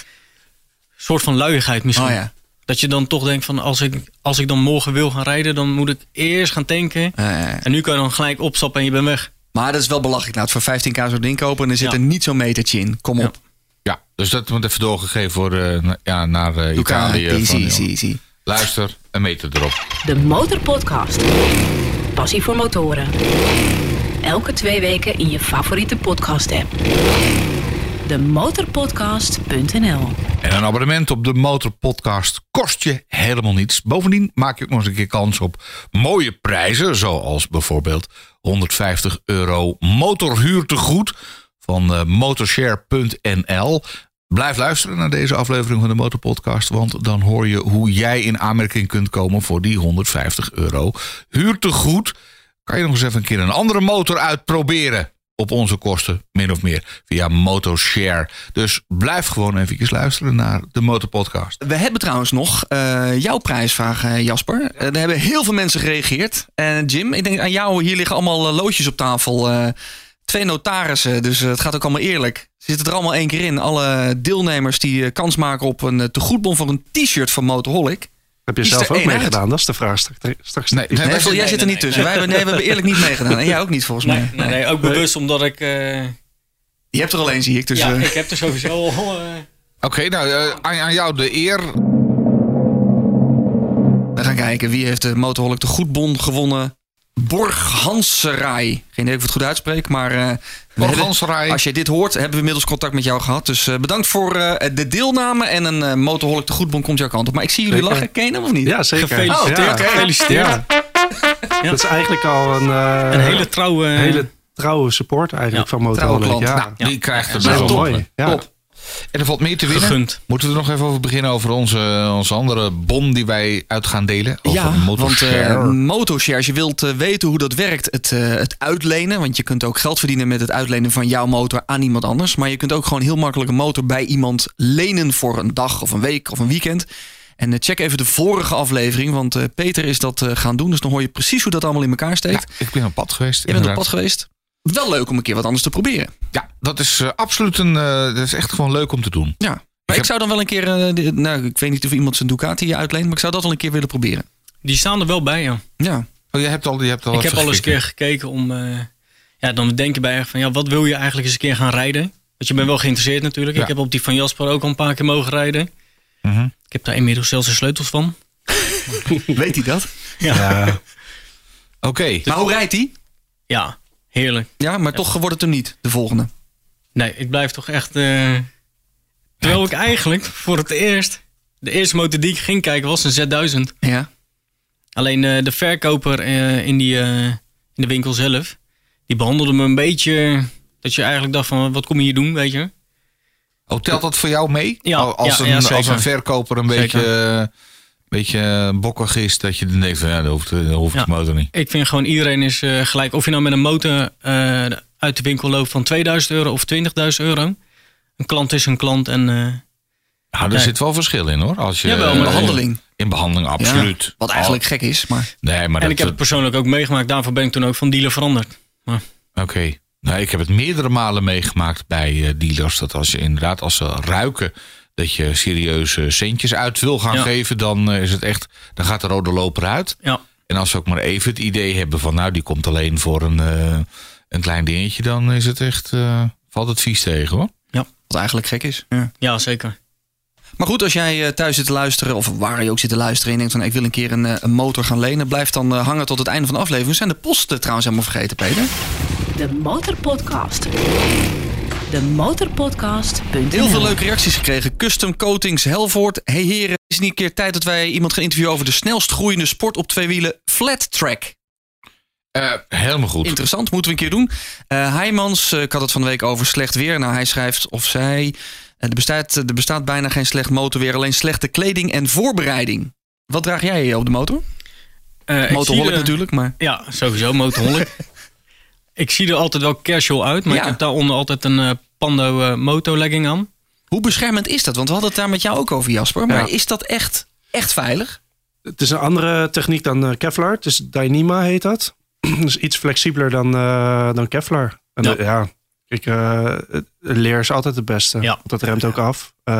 soort van luiigheid misschien.
Oh ja.
Dat je dan toch denkt van als ik, als ik dan morgen wil gaan rijden, dan moet ik eerst gaan tanken.
Eh,
En nu kan je dan gelijk opstappen en je bent weg.
maar dat is wel belachelijk. Nou, het voor 15k zo'n ding kopen en er zit
Ja.
er niet zo'n metertje in. Kom
Ja.
op.
Ja, dus dat wordt even doorgegeven voor, eh, na- ja, naar eh,
Luca,
Italië.
die-
van,
zie,
joh,
zie, zie.
Luister, een meter erop.
De Motorpodcast. Passie voor motoren. Elke twee weken in je favoriete podcast app. De Motorpodcast.nl.
En een abonnement op de Motorpodcast kost je helemaal niets. Bovendien maak je ook nog eens een keer kans op mooie prijzen. Zoals bijvoorbeeld 150 euro motorhuurtegoed van eh, motorshare.nl. Blijf luisteren naar deze aflevering van de Motorpodcast. Want dan hoor je hoe jij in aanmerking kunt komen voor die 150 euro huurtegoed. Kan je nog eens even een keer een andere motor uitproberen. Op onze kosten, min of meer, via Motoshare. Dus blijf gewoon eventjes luisteren naar de Motorpodcast.
We hebben trouwens nog eh, jouw prijsvraag, eh, Jasper. Eh, er hebben heel veel mensen gereageerd. En Jim, ik denk aan jou, hier liggen allemaal eh, loodjes op tafel. eh, twee notarissen, dus eh, het gaat ook allemaal eerlijk. Ze zitten er allemaal één keer in. Alle deelnemers die eh, kans maken op een eh, tegoedbon voor een t-shirt van Motorholic.
Heb je
Is
zelf
er
ook
één uit?
meegedaan? Dat is de vraag straks. straks
Nee, nee,
Nee,
wij
Wessel,
zitten-
jij zit er niet
nee,
tussen. Wij hebben, nee, we hebben eerlijk niet meegedaan. En jij ook niet, volgens mij.
Nee, ook bewust omdat ik... eh,
Je hebt er al één, zie ik. Dus,
ja,
eh,
ik heb er sowieso al... eh,
Oké, nou, eh, aan, aan jou de eer.
We gaan kijken wie heeft de Motorholic de Goedbon gewonnen. Borg Hanserai. Geen idee of ik het goed uitspreek, maar... eh, we hebben-
Hanserai.
Als je dit hoort, hebben we inmiddels contact met jou gehad. Dus eh, bedankt voor eh, de deelname. En een eh Motorholic de Goedbon komt jouw kant op. Maar ik zie jullie
Zeker.
lachen. Ken je hem of niet?
Ja, zeker. Oh,
Gefeliciteerd.
Ja.
oké.
Gefeliciteerd.
Ja. Dat is eigenlijk al een, eh,
Een hele eh, trouwe...
hele trouwe support eigenlijk van Motorola.
trouwe
Ja.
klant.
Ja.
Die krijgt er
dat
dus
is wel
op.
mooi. Ja.
Top.
En er valt meer te winnen.
gegund.
Moeten we er nog even over beginnen over onze, onze andere bon die wij uit gaan delen? Over
Ja, want
Motoshare.
eh Motoshare, als je wilt eh, weten hoe dat werkt, het, eh, het uitlenen. Want je kunt ook geld verdienen met het uitlenen van jouw motor aan iemand anders. Maar je kunt ook gewoon heel makkelijk een motor bij iemand lenen voor een dag of een week of een weekend. En eh, check even de vorige aflevering, want eh, Peter is dat eh, gaan doen. Dus dan hoor je precies hoe dat allemaal in elkaar steekt.
ja, ik ben op pad geweest.
je bent op
inderdaad.
pad geweest. Wel leuk om een keer wat anders te proberen.
Ja, dat is eh, absoluut een. eh, dat is echt gewoon leuk om te doen.
Ja. Maar ik,
heb-
zou dan wel een keer, eh, de- nou, ik weet niet of iemand zijn Ducati je uitleent, maar ik zou dat wel een keer willen proberen.
Die staan er wel bij, ja.
Ja,
Oh, je hebt al, je hebt al
Ik
even
heb al eens een
gekeken.
keer gekeken om... eh, ja, dan denk je bij echt van... Ja, wat wil je eigenlijk eens een keer gaan rijden? Want je bent wel geïnteresseerd natuurlijk.
Ja.
Ik heb op die van Jasper ook al een paar keer mogen rijden.
Mhm.
Ik heb daar inmiddels zelfs de sleutels van.
weet hij dat?
Oké.
Maar hoe rijdt hij?
Ja, heerlijk.
Ja, maar toch wordt het hem niet, de volgende.
Nee, ik blijf toch echt... eh, terwijl ik eigenlijk voor het eerst... De eerste motor die ik ging kijken was een Z1000.
Ja.
Alleen eh, de verkoper eh, in, die, eh, in de winkel zelf, die behandelde me een beetje... Dat je eigenlijk dacht van, wat kom je hier doen, weet je?
Oh, telt dat voor jou mee?
Ja,
Al- als,
ja,
een,
ja,
als
zeker.
een verkoper een
Zeker.
beetje, eh, een beetje eh, bokkig is, dat je dan denkt van ja, dat hoeft, dat hoeft
Ja.
de motor niet.
Ik vind gewoon iedereen is eh, gelijk. Of je nou met een motor eh, uit de winkel loopt van 2000 euro of 20.000 euro. Een klant is een klant en eh,
Nou, er
Nee.
zit wel verschil in hoor. Als je,
Jawel, maar-
eh,
Behandeling.
In behandeling, absoluut.
Ja, wat eigenlijk gek is, maar...
Al- nee, maar
En
dat, eh,
ik heb het persoonlijk ook meegemaakt. Daarvoor ben ik toen ook van dealer veranderd.
Oké. Nou, ik heb het meerdere malen meegemaakt bij eh, dealers. Dat als je inderdaad, als ze ruiken dat je serieuze centjes uit wil gaan
Ja.
geven, dan eh, is het echt, dan gaat de rode loper uit.
Ja,
En als ze ook maar even het idee hebben van nou, die komt alleen voor een, eh, een klein dingetje, dan is het echt, eh, valt het vies tegen hoor.
Wat eigenlijk gek is. Ja.
ja zeker.
Maar goed, als jij eh, thuis zit te luisteren, of waar je ook zit te luisteren... en je denkt van ik wil een keer een, eh, een motor gaan lenen... blijf dan eh, hangen tot het einde van de aflevering. We zijn de posten trouwens helemaal vergeten, Peter.
De Motorpodcast. De Motorpodcast.nl.
Heel veel leuke reacties gekregen. Custom Coatings, Helvoort. Hey heren, is het niet een keer tijd dat wij iemand gaan interviewen... over de snelst groeiende sport op twee wielen, Flat Track?
Eh, helemaal goed.
Interessant, moeten we een keer doen. Eh Heijmans, eh, ik had het van de week over slecht weer. Nou, hij schrijft of zij... eh, er, bestaat, er bestaat bijna geen slecht motorweer, alleen slechte kleding en voorbereiding. Wat draag jij op de motor?
Eh, ik zie
Motorholic
er-
natuurlijk, maar...
Ja, sowieso motorholic. ik zie er altijd wel casual uit. Maar
Ja.
ik heb daaronder altijd een eh, Pando eh, moto legging aan.
Hoe beschermend is dat? Want we hadden het daar met jou ook over, Jasper. Maar
Ja.
is dat echt, echt veilig?
Het is een andere techniek dan eh, Kevlar. Het is Dyneema heet dat. dus iets flexibeler dan, eh, dan Kevlar. En,
Ja.
eh, ja. Kijk, eh, het- leer is altijd het beste.
Ja.
Want dat remt ook af. Eh,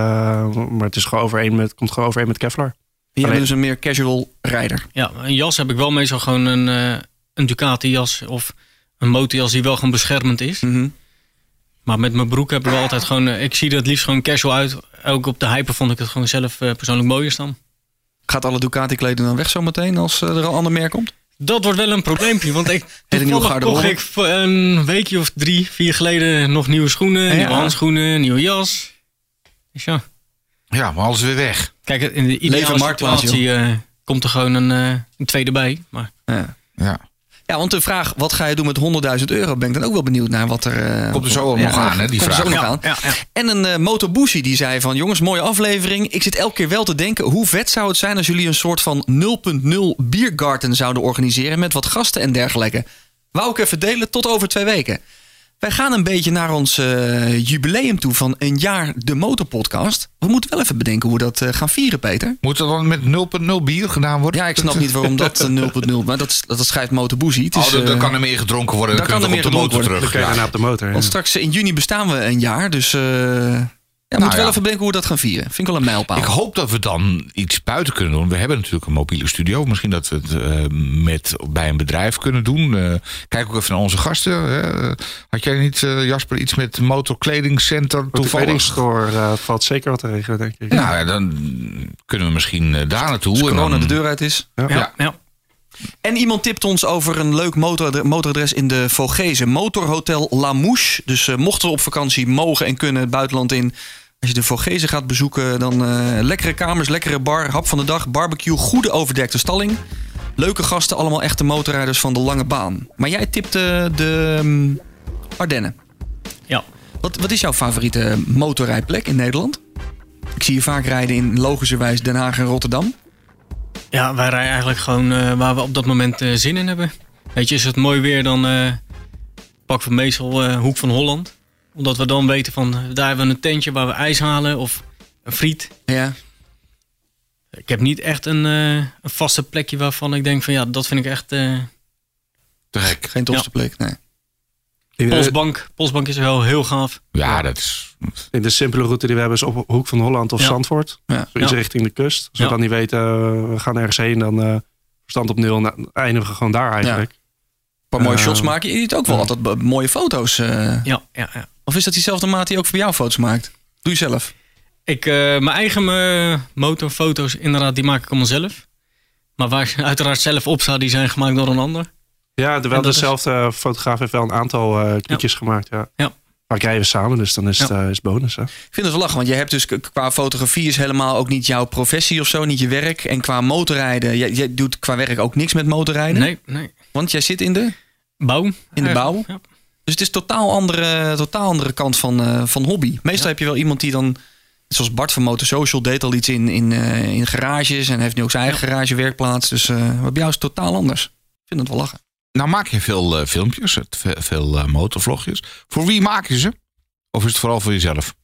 maar het is gewoon overeen met, komt gewoon overeen met Kevlar.
Je bent
Alleen-
dus een meer casual rijder.
Ja, een jas heb ik wel meestal gewoon een, eh, een Ducati jas of een motorjas die wel gewoon beschermend is.
Mhm.
Maar met mijn broek heb ik wel altijd gewoon, eh, ik zie er het liefst gewoon casual uit. Ook op de hyper vond ik het gewoon zelf eh, persoonlijk mooier staan.
Gaat alle Ducati-kleding dan weg zometeen als eh, er al ander meer komt?
Dat wordt wel een probleempje, want ik
nieuwe
toevallig
garderobe.
kocht ik voor een weekje of drie, vier geleden nog nieuwe schoenen,
Ja.
nieuwe handschoenen, nieuwe jas. Dus ja,
Ja, maar alles weer weg.
kijk, in de
Leven
ideale
marktplaats,
situatie eh, komt er gewoon een, eh, een tweede bij. Maar
Ja.
Ja.
ja, want de vraag, wat ga je doen met 100.000 euro? Ben ik dan ook wel benieuwd naar wat er... eh,
Komt er zo wel
ja,
nog aan, hè, die
komt er zo
vraag.
nog aan.
ja, ja.
En een eh Motobushi die zei van... jongens, mooie aflevering. Ik zit elke keer wel te denken... hoe vet zou het zijn als jullie een soort van 0.0 biergarten zouden organiseren... met wat gasten en dergelijke. Wou ik even delen tot over twee weken. Wij gaan een beetje naar ons eh, jubileum toe van een jaar de motorpodcast. We moeten wel even bedenken hoe we dat eh, gaan vieren, Peter.
Moet dat dan met 0.0 bier gedaan worden?
Ja, ik snap niet waarom dat eh, 0.0... maar dat, dat schrijft Motobushi. Het
Oh,
is,
dat, dat
eh,
kan er meer gedronken worden. Dan
daar
kunnen we
kan
op
er
de
meer gedronken
motor terug.
Dan kun je
Ja.
daarna op de motor. ja.
Want straks in juni bestaan we een jaar, dus... eh ja, we moeten
Nou ja.
wel even bedenken hoe we dat gaan vieren. Vind ik wel een mijlpaal.
Ik hoop dat we dan iets buiten kunnen doen. We hebben natuurlijk een mobiele studio. Misschien dat we het eh, met, bij een bedrijf kunnen doen. Eh, kijk ook even naar onze gasten. hè. Had jij niet, eh, Jasper, iets met motorkledingcenter
Want de
toevallig?
kledingstore eh, valt zeker wat te regelen, denk ik.
Nou, ja, dan kunnen we misschien eh, daar naartoe.
Als
en
corona
dan-
de deur uit is.
ja, ja.
En iemand tipt ons over een leuk motor, motoradres in de Vogezen. Motorhotel La Mouche. Dus eh, mochten we op vakantie mogen en kunnen het buitenland in. Als je de Vogezen gaat bezoeken, dan eh, lekkere kamers, lekkere bar, hap van de dag, barbecue, goede overdekte stalling. Leuke gasten, allemaal echte motorrijders van de lange baan. Maar jij tipte de mm, Ardennen.
ja.
Wat, wat is jouw favoriete motorrijplek in Nederland? Ik zie je vaak rijden in logischerwijs Den Haag en Rotterdam.
Ja, wij rijden eigenlijk gewoon eh, waar we op dat moment eh, zin in hebben. Weet je, is het mooi weer, dan eh, pakken we meestal eh, Hoek van Holland. Omdat we dan weten van, eh, daar hebben we een tentje waar we ijs halen of een friet.
Ja.
Ik heb niet echt een, eh, een vaste plekje waarvan ik denk van, ja, dat vind ik echt... eh
Te gek.
Geen tofste plek, nee.
In, eh, de,
Postbank, Postbank is wel heel gaaf.
Ja, dat is...
in de simpele route die we hebben is op Hoek van Holland of
Ja.
Zandvoort.
Ja.
Zoiets
Ja.
richting de kust. Als
Ja.
we dan niet weten, eh, we gaan ergens heen, dan eh verstand op nul. en dan eindigen we gewoon daar eigenlijk.
Een paar mooie
Eh,
shots maken. Je ziet ook wel altijd b- mooie foto's. eh.
Ja, ja, ja.
Of is dat diezelfde maat die ook voor jou foto's maakt? Doe je zelf.
Ik, eh, mijn eigen eh, motorfoto's, inderdaad, die maak ik allemaal zelf. Maar waar ze uiteraard zelf op staan, die zijn gemaakt door een ander.
Ja, de, wel
En dat is-
dezelfde fotograaf heeft wel een aantal eh knietjes gemaakt. Ja.
Ja.
Maar ik rijden samen, dus dan is het eh, is bonus. Hè?
Ik vind het wel lachen, want je hebt dus k- qua fotografie is helemaal ook niet jouw professie of zo, niet je werk. En qua motorrijden, jij, jij doet qua werk ook niks met motorrijden.
Nee, nee.
Want jij zit in de.
Bouw.
In de bouw?
Ja.
Dus het is totaal andere, totaal andere kant van, eh, van hobby. Meestal heb je wel iemand die dan, zoals Bart van Motorsocial, deed al iets in, in, eh, in garages en heeft nu ook zijn eigen garagewerkplaats. Dus eh, wat bij jou is het totaal anders. Ik vind het wel lachen.
Nou maak je veel eh, filmpjes, het- ve- veel eh, motorvlogjes. Voor wie maak je ze? Of is het vooral voor jezelf?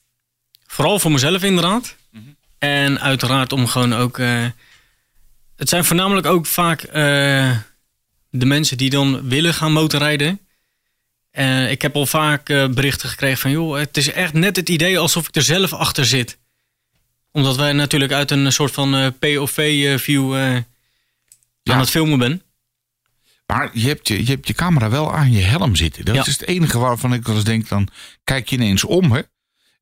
Vooral voor mezelf inderdaad.
Mhm.
En uiteraard om gewoon ook... eh, het zijn voornamelijk ook vaak eh, de mensen die dan willen gaan motorrijden. En ik heb al vaak eh, berichten gekregen van... joh, het is echt net het idee alsof ik er zelf achter zit. Omdat wij natuurlijk uit een soort van eh, POV-view
Ja.
aan eh, het filmen ben.
Maar je hebt je, je hebt je camera wel aan je helm zitten. Dat
Ja.
is het enige waarvan ik wel eens denk, dan kijk je ineens om. Hè?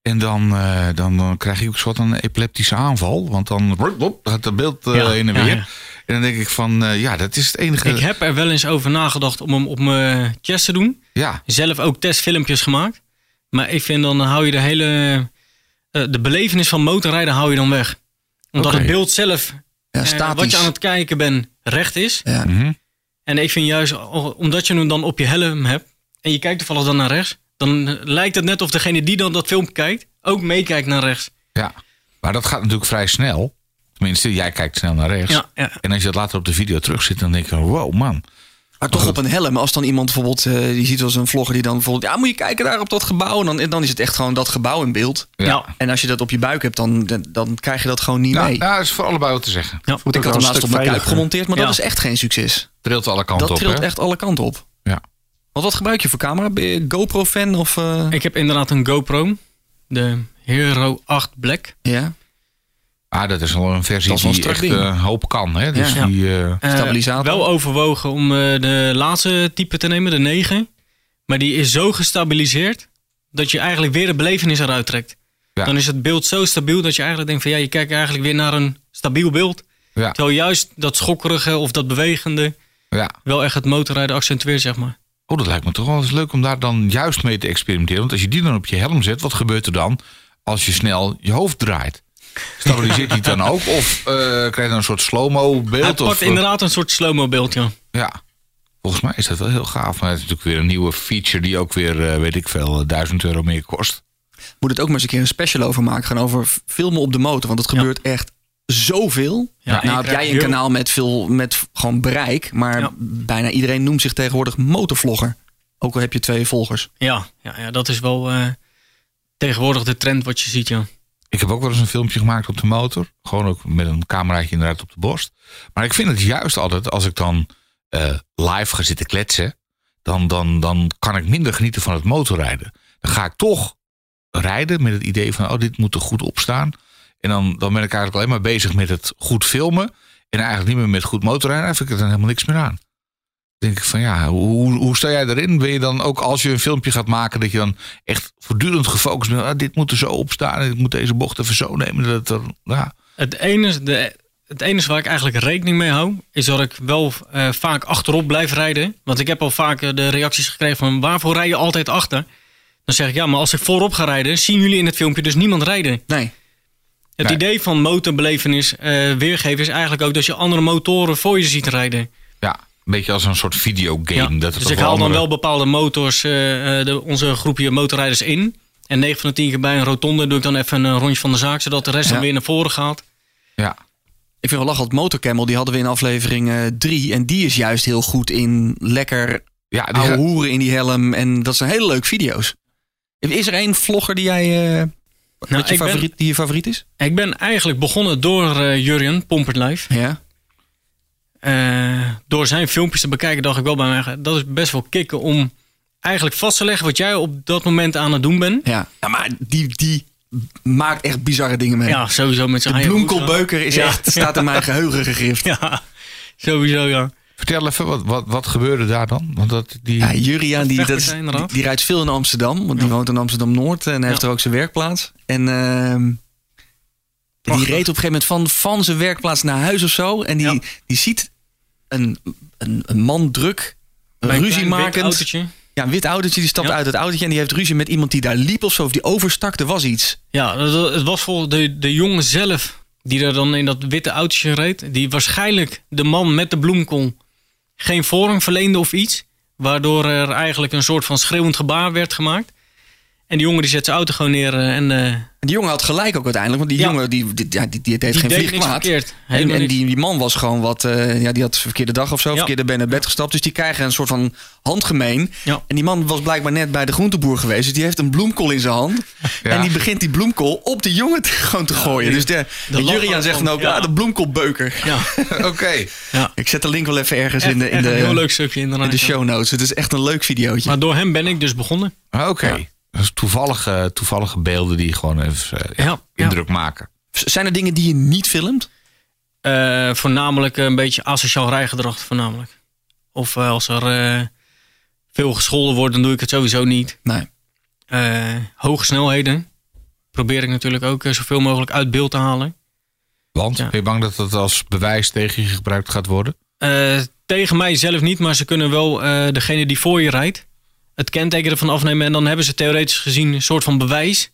En dan, eh, dan, dan krijg je ook soort een epileptische aanval. Want dan wop, wop, gaat het beeld eh,
Ja,
heen en
ja,
weer.
ja.
En dan denk ik van, eh, ja, dat is het enige.
Ik heb er wel eens over nagedacht om hem op mijn chest te doen.
Ja,
zelf ook testfilmpjes gemaakt. Maar ik vind dan hou je de hele. eh, de belevenis van motorrijden hou je dan weg. Omdat
Oké.
het beeld zelf.
Ja,
eh,
statisch.
wat je aan het kijken bent, recht is.
Ja.
Mhm.
En ik vind juist, al- omdat je hem dan op je helm hebt. en je kijkt toevallig dan naar rechts. dan eh, lijkt het net of degene die dan dat filmpje kijkt. ook meekijkt naar rechts.
ja. Maar dat gaat natuurlijk vrij snel. Tenminste, jij kijkt snel naar rechts.
Ja, ja.
En als je dat later op de video terugzit, dan denk je, wow man.
Maar toch op een helm. Als dan iemand bijvoorbeeld, eh, je ziet wel eens een vlogger die dan bijvoorbeeld, ja moet je kijken daar op dat gebouw. En dan, en dan is het echt gewoon dat gebouw in beeld.
Ja.
Ja.
En als je dat op je buik hebt, dan, dan, dan krijg je dat gewoon niet
Nou,
mee.
nou, dat is voor allebei wat te zeggen.
Ja.
Voelt
ik had
wel
hem
een
laatst op
stuk
mijn kuip
veiliger.
gemonteerd, maar
Ja.
dat is echt geen succes.
Trilt alle kanten
dat
op.
trilt
hè?
echt alle kanten op.
Ja.
Want wat gebruik je voor camera? Ben je GoPro-fan of... eh,
Ik heb inderdaad een GoPro. De Hero 8 Black.
ja,
Ah, dat is al een versie
Dat is wel een
die echt
strak ding.
eh, een hoop kan. Hè? Dus
Ja.
die, eh,
Eh,
Stabilisator.
wel overwogen om eh, de laatste type te nemen, de 9. Maar die is zo gestabiliseerd dat je eigenlijk weer de belevenis eruit trekt.
Ja.
Dan is het beeld zo stabiel dat je eigenlijk denkt van ja, je kijkt eigenlijk weer naar een stabiel beeld.
ja,
Terwijl juist dat schokkerige of dat bewegende
ja.
wel echt het motorrijden accentueert, zeg maar.
Oh, dat lijkt me toch wel eens leuk om daar dan juist mee te experimenteren. Want als je die dan op je helm zet, wat gebeurt er dan als je snel je hoofd draait? Stabiliseert die het dan ook? Of eh, krijg je dan een soort slow-mo
Hij
beeld? Of, eh,
pakt inderdaad een soort slow-mo beeld, ja.
ja. Volgens mij is dat wel heel gaaf. Maar het is natuurlijk weer een nieuwe feature die ook weer, eh, weet ik veel, eh, 1000 euro meer kost.
moet het ook maar eens een keer een special over maken. Gaan over f- filmen op de motor. Want het gebeurt echt zoveel.
Ja, en je
nou heb
krijgt
jij een
heel-
kanaal met veel met f- gewoon bereik. Maar
Ja.
bijna iedereen noemt zich tegenwoordig motorvlogger. Ook al heb je twee volgers.
Ja, ja, ja dat is wel eh, tegenwoordig de trend wat je ziet, ja.
Ik heb ook wel eens een filmpje gemaakt op de motor. Gewoon ook met een cameraatje inderdaad op de borst. Maar ik vind het juist altijd, als ik dan eh, live ga zitten kletsen... Dan, dan, dan kan ik minder genieten van het motorrijden. Dan ga ik toch rijden met het idee van... oh, dit moet er goed op staan. En dan, dan ben ik eigenlijk alleen maar bezig met het goed filmen... en eigenlijk niet meer met goed motorrijden. Dan vind ik er dan helemaal niks meer aan. Dan denk ik van ja, hoe, hoe- hoe sta jij erin? Ben je dan ook als je een filmpje gaat maken... dat je dan echt voortdurend gefocust bent... ah, dit moet er zo op staan en ik moet deze bocht even zo nemen... dat er, ja,
Het enige, de, het enige waar ik eigenlijk rekening mee hou, is dat ik wel eh, vaak achterop blijf rijden. Want ik heb al vaak eh, de reacties gekregen van waarvoor rij je altijd achter? Dan zeg ik ja, maar als ik voorop ga rijden, zien jullie in het filmpje dus niemand rijden.
Nee.
Het
Nee.
idee van motorbelevenis eh, weergeven is eigenlijk ook dat je andere motoren voor je ziet rijden.
ja, een beetje als een soort videogame.
Ja.
Dat het
dus ik
toch
haal dan
andere-
wel bepaalde motors, eh, eh, de, onze groepje motorrijders in. En 9 van de 10 keer bij een rotonde doe ik dan even een rondje van de zaak, zodat de rest
Ja.
dan weer naar voren gaat.
Ja,
Ik vind wel lachen, want Motorcamel die hadden we in aflevering 3. en die is juist heel goed in lekker
ja, die
ouwe
ga-
hoeren in die helm. En dat zijn hele leuke video's. Is er één vlogger die jij... eh, wat je
ik ben-
favoriet, die je favoriet is?
Ik ben eigenlijk begonnen door eh Jurjen, Pompertlijf.
Ja.
Eh, door zijn filmpjes te bekijken dacht ik wel bij mij, eigen, dat is best wel kicken om eigenlijk vast te leggen wat jij op dat moment aan het doen bent.
Ja, ja maar die, die maakt echt bizarre dingen mee.
Ja, sowieso met zijn
De
eigen
bloemkoolbeuker is
Ja.
echt, staat in mijn geheugen gegrift.
hoed. Ja, sowieso ja.
Vertel even, wat, wat, wat gebeurde daar dan? Want dat, die,
Ja, Juriaan die, dat is-
Vechtpartij
die,
eraf.
die rijdt veel in Amsterdam, want die woont in Amsterdam-Noord en heeft er ook zijn werkplaats. En ehm, die
Prachtig.
reed op een gegeven moment van, van zijn werkplaats naar huis of zo. En die,
Ja.
die ziet een, een, een man druk,
Bij een
ruzie
klein wit
makend.
autootje.
Ja, een wit autootje, die stapt
Ja.
uit het autootje en die heeft ruzie met iemand die daar liep of zo. Of die overstak, er was iets.
Ja, dat- dat- het was volgens de, de jongen zelf die er dan in dat witte autootje reed. Die waarschijnlijk de man met de bloemkool geen voorrang verleende of iets. Waardoor er eigenlijk een soort van schreeuwend gebaar werd gemaakt. En die jongen die zet zijn auto gewoon neer eh, en eh,
En die jongen had gelijk ook uiteindelijk, want die
Ja.
jongen die, die, ja, die, die deed
die
geen
deed
vlieg
niks
kwaad.
verkeerd.
En,
Helemaal
en
niks.
die, die man was gewoon wat, eh, ja, die had verkeerde dag of zo,
Ja.
verkeerde ben naar bed gestapt. Dus die krijgen een soort van handgemeen.
Ja.
En die man was blijkbaar net bij de groenteboer geweest. Dus die heeft een bloemkool in zijn hand.
Ja.
En die begint die bloemkool op de jongen te, gewoon te gooien. Dus de, de
lach
Juriaan zegt dan
van-
ook,
ja.
ah, de bloemkoolbeuker.
Ja,
Oké.
Ik zet de link wel even ergens in de,
echt
in
een heel
de,
leuk stukje inderdaad.
in de
ja.
show notes. Het is echt een leuk videootje.
Maar door hem ben ik dus begonnen.
Ah, Oké. Dat is toevallige, toevallige beelden die gewoon even eh,
Ja, ja.
indruk maken.
Zijn er dingen die je niet filmt?
Eh, voornamelijk een beetje asociaal rijgedrag, voornamelijk. Of eh, als er eh, veel gescholden wordt, dan doe ik het sowieso niet.
Nee.
eh hoge snelheden. Probeer ik natuurlijk ook eh, zoveel mogelijk uit beeld te halen.
Want
Ja.
ben je bang dat dat als bewijs tegen je gebruikt gaat worden?
Eh, tegen mij zelf niet, maar ze kunnen wel eh, degene die voor je rijdt het kenteken ervan afnemen. En dan hebben ze theoretisch gezien een soort van bewijs.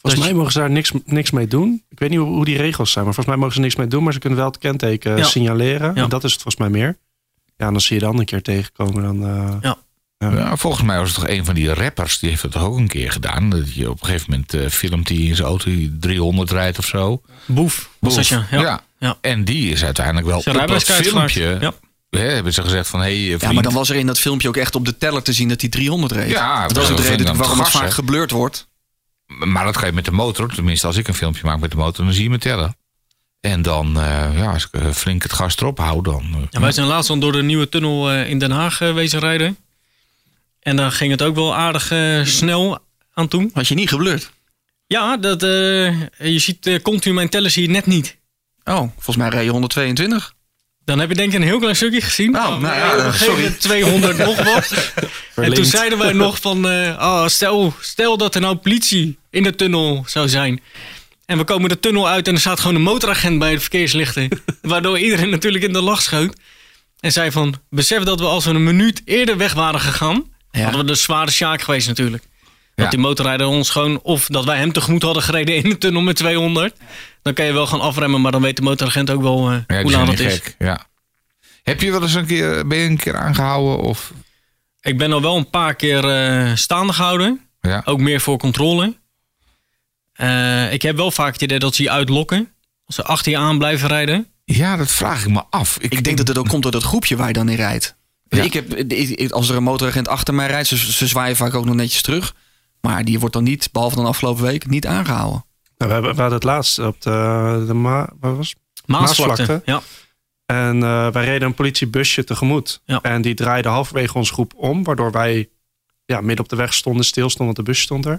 Volgens
Dat
mij mogen ze daar niks, niks mee doen. Ik weet niet hoe, hoe die regels zijn, maar volgens mij mogen ze niks mee doen. Maar ze kunnen wel het kenteken
Ja.
signaleren.
Ja.
En dat is het volgens mij meer. Ja, en dan zie je de andere keer tegenkomen. Dan, eh,
Ja.
Ja.
Ja, volgens mij was het toch een van die rappers, die heeft dat toch ook een keer gedaan. Dat je op een gegeven moment eh, filmt die in zijn auto die 300 rijdt of zo.
Boef. Was dat
Boef.
ja? Ja.
En die is uiteindelijk wel op
Zijn
dat
rijbewijs kwijtgeraakt.
filmpje
Ja.
hè, hebben ze gezegd van... Hey, eh,
Ja, maar dan was er in dat filmpje ook echt op de teller te zien dat hij 300 reed.
Ja,
dat is ook
dat
de
vind ik
reden
dan
waarom het
gas,
vaak
hè?
gebleurd wordt.
Maar dat ga je met de motor. Tenminste, als ik een filmpje maak met de motor, dan zie je me tellen. En dan, eh, ja, als ik eh, flink het gas erop hou, dan... eh,
Ja, wij zijn laatst dan door de nieuwe tunnel eh, in Den Haag eh, wezen rijden. En daar ging het ook wel aardig eh, snel aan toe.
Had je niet gebleurd?
Ja, dat, eh, je ziet eh, continu mijn tellen zie je net niet.
Oh, volgens mij reed je 122.
Dan heb je denk ik een heel klein stukje gezien.
Nou,
Maar
nou ja,
op een
eh,
gegeven moment 200 nog wat. En toen zeiden wij nog van, eh, ah, stel, stel dat er nou politie in de tunnel zou zijn. En we komen de tunnel uit en er staat gewoon een motoragent bij de verkeerslichten. waardoor iedereen natuurlijk in de lach schoot. En zei van, besef dat we als we een minuut eerder weg waren gegaan,
Ja.
hadden we de zware sjaak geweest natuurlijk.
Ja.
Dat die motorrijder ons gewoon, of dat wij hem tegemoet hadden gereden in de tunnel met 200. Dan kan je wel gaan afremmen, maar dan weet de motoragent ook wel eh,
ja, die
hoe
zijn
laat het
niet
is.
gek. Ja. Heb je wel eens een keer, ben je een keer aangehouden? Of,
Ik ben al wel een paar keer eh, staande gehouden.
ja.
Ook meer voor controle. Eh, ik heb wel vaak het idee dat ze je uitlokken. Als ze achter je aan blijven rijden.
ja, dat vraag ik me af.
Ik denk dat het ook komt door dat groepje waar je dan in rijdt.
Ja.
Ik heb, ik- ik- als er een motoragent achter mij rijdt, ze, ze zwaaien vaak ook nog netjes terug. Maar die wordt dan niet, behalve dan afgelopen week, niet aangehouden.
Nou, we, hebben, we hadden het laatst op de, de Ma- waar was het?
Maasvlakte. Ja.
En eh, wij reden een politiebusje tegemoet.
Ja.
En die draaide halverwege ons groep om. Waardoor wij ja, midden op de weg stonden, stilstonden, want de bus stond er.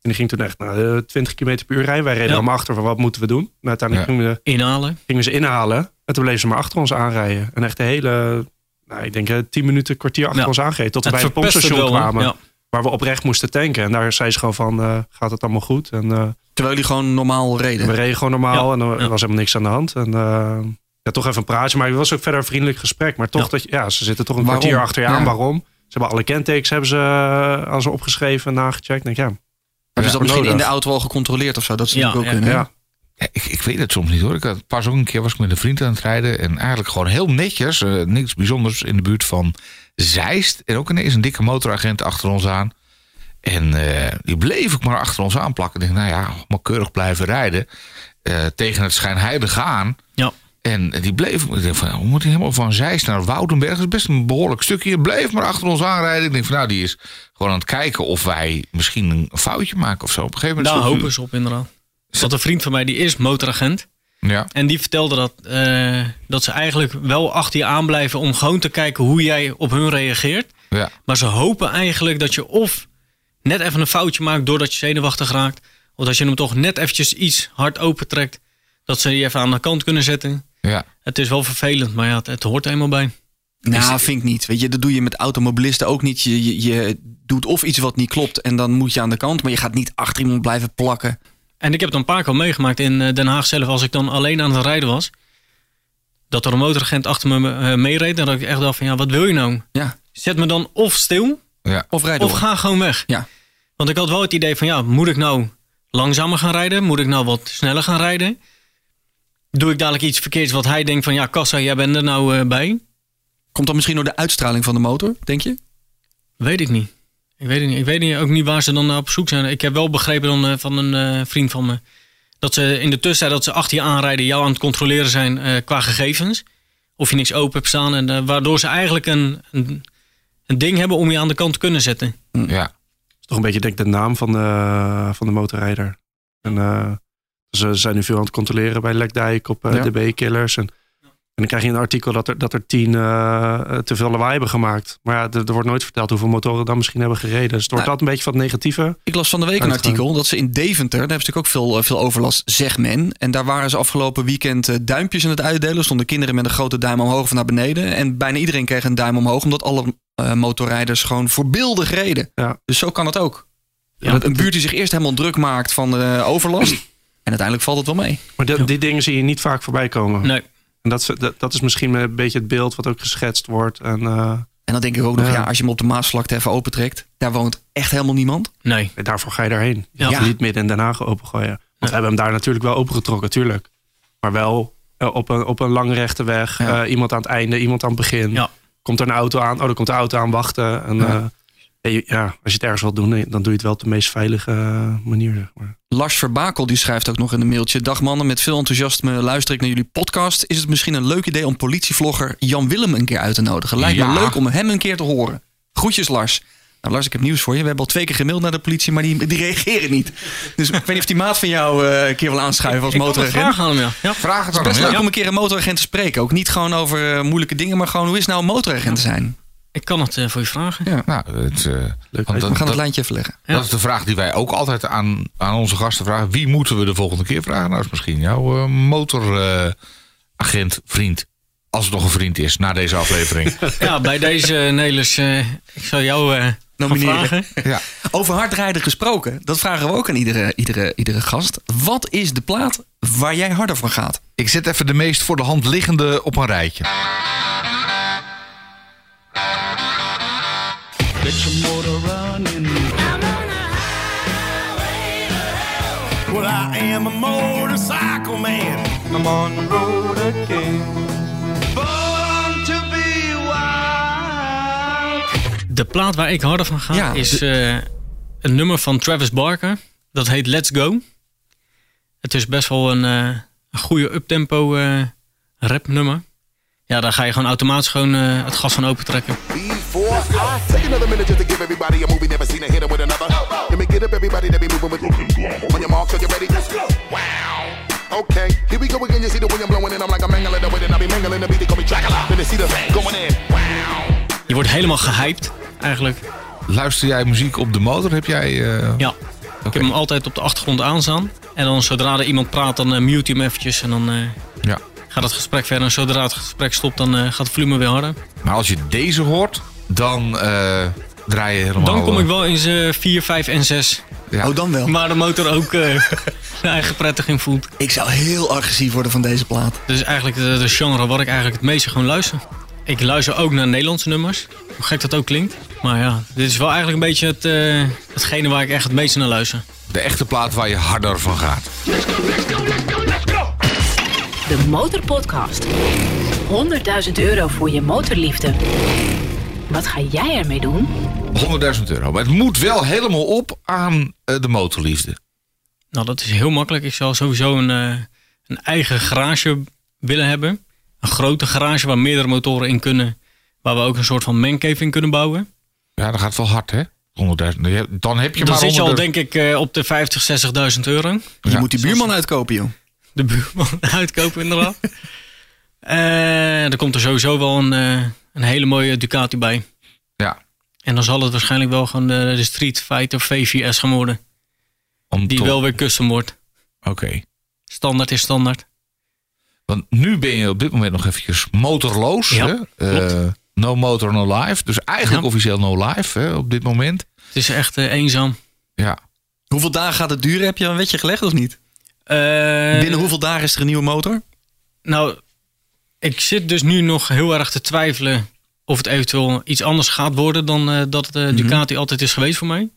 En die ging toen echt nou, eh, 20 km per uur rijden. Wij reden
Ja.
allemaal achter van wat moeten we doen. En uiteindelijk
Ja.
gingen, we,
Inhalen.
gingen we ze inhalen. En toen bleven ze maar achter ons aanrijden. En echt de hele, nou, ik denk eh, 10 minuten, kwartier achter
Ja.
ons aangereden. Tot we bij het
verpest het
pompstation
wel, hè?
kwamen.
Ja.
Waar we oprecht moesten tanken. En daar zei ze gewoon van, eh, gaat het allemaal goed? En eh,
Terwijl die gewoon normaal
we
reden.
reden gewoon normaal
Ja,
en er
ja.
was helemaal niks aan de hand. En eh, ja, toch even een praatje. Maar het was ook verder een vriendelijk gesprek. Maar toch,
Ja.
dat, je- ja, ze zitten toch een
Waarom?
kwartier achter je aan.
Ja.
Waarom? Ze hebben alle kentekens hebben ze, eh, aan ze opgeschreven en nagecheckt. Ik Denk, ja,
Hebben ze dat
Ja,
Dus misschien in de
nodig.
auto al gecontroleerd of zo? Dat ze
Ja,
natuurlijk ook
ja,
kunnen.
ja.
Ja, ik, ik weet het soms niet hoor. Ik had pas ook een keer was ik met een vriend aan het rijden. En eigenlijk gewoon heel netjes. eh, niks bijzonders in de buurt van Zeist. En ook ineens een dikke motoragent achter ons aan. En eh, die bleef ik maar achter ons aanplakken. Ik denk, nou ja, maar keurig blijven rijden. eh, tegen het schijnheilige aan.
Ja.
En die bleef, ik denk van, ja, we moeten helemaal van Zeist naar Woudenberg. Dat is best een behoorlijk stukje. Bleef maar achter ons aanrijden. Ik denk van, nou, die is gewoon aan het kijken of wij misschien een foutje maken of zo. Op een gegeven moment...
Daar
sloeg u-
Nou, hopen ze op inderdaad. Er zat een vriend van mij, die is motoragent.
Ja,
En die vertelde dat, eh, dat ze eigenlijk wel achter je aan blijven om gewoon te kijken hoe jij op hun reageert.
ja.
Maar ze hopen eigenlijk dat je of net even een foutje maakt doordat je zenuwachtig raakt. Of dat je hem toch net eventjes iets hard opentrekt. Dat ze je even aan de kant kunnen zetten.
Ja,
Het is wel vervelend, maar ja, het, het hoort er eenmaal bij.
Nou, vind ik niet. Weet je, dat doe je met automobilisten ook niet. Je, je, je doet of iets wat niet klopt en dan moet je aan de kant. Maar je gaat niet achter iemand blijven plakken.
En ik heb het een paar keer meegemaakt in eh, Den Haag zelf, als ik dan alleen aan het rijden was. Dat er een motoragent achter me eh, meereed. En dat ik echt dacht van, ja, wat wil je nou?
Ja.
Zet me dan of stil,
ja.
Of rijden.
of ga gewoon weg.
Ja.
Want ik had wel het idee van, ja, moet ik nou langzamer gaan rijden? Moet ik nou wat sneller gaan rijden? Doe ik dadelijk iets verkeerds wat hij denkt van, ja, Kassa, jij bent er nou eh, bij?
Komt dat misschien door de uitstraling van de motor, denk je?
Weet ik niet. Ik weet, het niet. ik weet niet, ook niet waar ze dan naar op zoek zijn. Ik heb wel begrepen dan, eh, van een eh, vriend van me... dat ze in de tussentijd dat ze achter je aanrijden... jou aan het controleren zijn eh, qua gegevens. Of je niks open hebt staan. En, eh, waardoor ze eigenlijk een, een, een ding hebben om je aan de kant te kunnen zetten.
Ja,
is toch een beetje denk ik, de naam van de, van de motorrijder. En eh, ze zijn nu veel aan het controleren bij Lekdijk op eh,
Ja.
DB-killers. En, en dan krijg je een artikel dat er, dat er tien eh, eh, te veel lawaai hebben gemaakt. Maar ja, er, er wordt nooit verteld hoeveel motoren dan misschien hebben gereden. Dus het wordt
Nou,
dat een beetje van het negatieve.
Ik las van de week een
Uitgang.
artikel dat ze in Deventer, daar hebben ze natuurlijk ook veel, eh, veel overlast, zeg men. En daar waren ze afgelopen weekend eh, duimpjes aan het uitdelen. Stonden kinderen met een grote duim omhoog of naar beneden. En bijna iedereen kreeg een duim omhoog, omdat alle eh, motorrijders gewoon voorbeeldig reden.
Ja.
Dus zo kan het ook.
Ja.
Dat een buurt die zich eerst helemaal druk maakt van eh, overlast. En uiteindelijk valt het wel mee.
Maar de- die dingen zie je niet vaak voorbij
Oh.
komen.
Nee,
En dat, is- dat, dat is misschien een beetje het beeld wat ook geschetst wordt. En eh,
En dan denk ik ook nog, ja,
Ja.
als je hem op de Maasvlakte even opentrekt, daar woont echt helemaal niemand.
nee.
daarvoor ga je daarheen. Je
Ja.
gaat niet midden in Den Haag opengooien. Want we hebben hem daar natuurlijk wel opengetrokken, tuurlijk. Maar wel eh, op, een, op een lange rechte weg.
Ja.
Eh, iemand aan het einde, iemand aan het begin.
Ja.
Komt er een auto aan? Oh, er komt de auto aan, wachten. En,
Ja.
eh, Ja, je- ja, als je het ergens wilt doen, nee, dan doe je het wel op de meest veilige eh, manier. Zeg maar.
Lars Verbakel die schrijft ook nog in een mailtje. Dag mannen, met veel enthousiasme luister ik naar jullie podcast. Is het misschien een leuk idee om politievlogger Jan Willem een keer uit te nodigen? Lijkt
Ja.
me leuk om hem een keer te horen. Groetjes Lars. Nou Lars, ik heb nieuws voor je. We hebben al twee keer gemaild naar de politie, maar die, die reageren niet. Dus ik weet niet of die maat van jou eh, een keer wil aanschuiven als
Ik had een
motoragent.
vraag aan hem, ja. ja.
Vraag het
Het
aan
is best
hem,
leuk
ja.
om een keer een motoragent te spreken. Ook niet gewoon over eh, moeilijke dingen, maar gewoon hoe is het nou een motoragent te zijn?
Ik kan het eh, voor je vragen.
Nou, het, eh,
Leuk.
want
We
dat,
gaan het
dat,
lijntje even leggen.
Ja.
dat is de vraag die wij ook altijd aan, aan onze gasten vragen. Wie moeten we de volgende keer vragen? Nou, is misschien jouw motoragent, eh, vriend. Als het nog een vriend is, na deze aflevering.
Ja, bij deze eh, Nelis, eh, ik zou jou eh gaan
Nomineren.
vragen.
ja.
Over hardrijden gesproken, dat vragen we ook aan iedere, iedere, iedere gast. Wat is de plaat waar jij harder van gaat?
Ik zet even de meest voor de hand liggende op een rijtje.
Well, I am a motorcycle man. I'm on the road again. Born to be wild.
De plaat waar ik harder van ga
Ja,
is eh, een nummer van Travis Barker. Dat heet Let's Go. Het is best wel een, eh, een goede uptempo eh rapnummer. Ja, daar ga je gewoon automatisch gewoon, eh, het gas van open trekken.
Before I take another minute just to give everybody a movie never seen and hit it with another. Let me get up everybody that be moving with On your mark, are you ready? Let's go. Wow. Okay, here we go again. You see the wind I'm blowing and I'm like I'm mangling the way and I be mangling the beat. They call me Dracula. Then they see the thing going in. Wow.
Je wordt helemaal gehyped eigenlijk.
Luister jij muziek op de motor? Heb jij... eh,
Ja, ik heb hem altijd op de achtergrond aanstaan. En dan zodra er iemand praat, dan eh, mute je hem eventjes en dan eh,
ja.
gaat het gesprek verder. En zodra het gesprek stopt, dan eh, gaat het volume weer harder.
Maar nou, als je deze hoort, dan eh, draai je helemaal...
Dan kom ik wel eens eh 4, 5 en 6.
Ja.
Oh, dan wel.
Waar de motor ook eh, zijn eigen prettiging voelt.
Ik zou heel agressief worden van deze plaat.
Dus eigenlijk de, de genre waar ik eigenlijk het meeste gewoon luister. Ik luister ook naar Nederlandse nummers. Hoe gek dat ook klinkt. Maar ja, dit is wel eigenlijk een beetje het, eh, hetgene waar ik echt het meeste naar luister.
De echte plaat waar je harder van gaat.
De Motorpodcast. 100.000 euro voor je motorliefde. Wat ga jij ermee doen?
100.000 euro. Maar het moet wel helemaal op aan eh, de motorliefde.
Nou, dat is heel makkelijk. Ik zou sowieso een, eh, een eigen garage willen hebben. Een grote garage waar meerdere motoren in kunnen. Waar we ook een soort van mancave in kunnen bouwen.
Ja, dat gaat wel hard, hè? 100.000. Dan heb je
Dan
maar
zit je al
100.000.
denk ik eh, op de 50, 60.000 euro.
Je
Ja.
moet die buurman uitkopen, joh.
de buurman uitkopen inderdaad. Eh er komt er sowieso wel een, eh, een hele mooie Ducati bij.
Ja,
En dan zal het waarschijnlijk wel gewoon de, de Street Fighter V4S gaan worden.
om
Die
tot-
wel weer custom wordt.
Oké.
Standaard is standaard.
Want nu ben je op dit moment nog eventjes motorloos.
Ja,
hè?
klopt.
Eh, no motor, no life. Dus eigenlijk
Ja.
officieel no life hè, op dit moment.
Het is echt eh, eenzaam.
Ja.
Hoeveel dagen gaat het duren? Heb je een wetje gelegd of niet?
Eh,
Binnen hoeveel dagen is er een nieuwe motor?
Oh.
Nou, ik zit dus nu nog heel erg te twijfelen of het eventueel iets anders gaat worden dan eh, dat de Ducati altijd is geweest voor mij.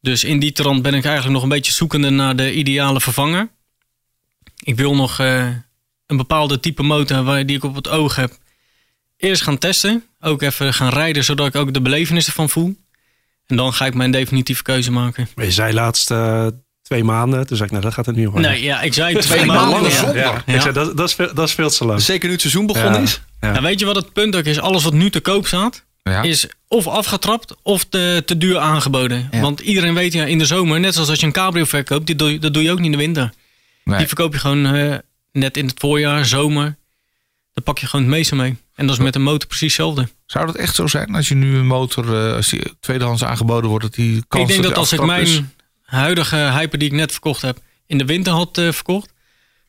Dus in die trant ben ik eigenlijk nog een beetje zoekende naar de ideale vervanger. Ik wil nog eh, een bepaalde type motor waar, die ik op het oog heb eerst gaan testen. Ook even gaan rijden, zodat ik ook de belevenis ervan voel. En dan ga ik mijn definitieve keuze maken.
Maar je zei laatste eh, twee maanden, toen zei ik, nou dat gaat het nu worden.
Nee, ja, ik zei twee
Twee
maanden.
maanden
ja.
zonder.
Ja,
Ja.
Ik zei, dat, dat, is veel, dat is veel te lang.
Zeker nu het seizoen begonnen is.
Ja, weet je wat het punt ook is? Alles wat nu te koop staat,
Ja.
is of afgetrapt of te, te duur aangeboden. Want iedereen weet ja, in de zomer, net zoals als je een cabrio verkoopt, die doe, je- dat doe je ook niet in de winter.
Nee.
Die verkoop je gewoon eh, net in het voorjaar, zomer. Daar pak je gewoon het meeste mee. En dat is met een motor precies hetzelfde.
Zou dat echt zo zijn? Als je nu een motor, eh, als die tweedehands aangeboden wordt, dat die kans
ik denk dat
die
als ik
aftrap
mijn
is-
huidige hyper die ik net verkocht heb, in de winter had eh, verkocht,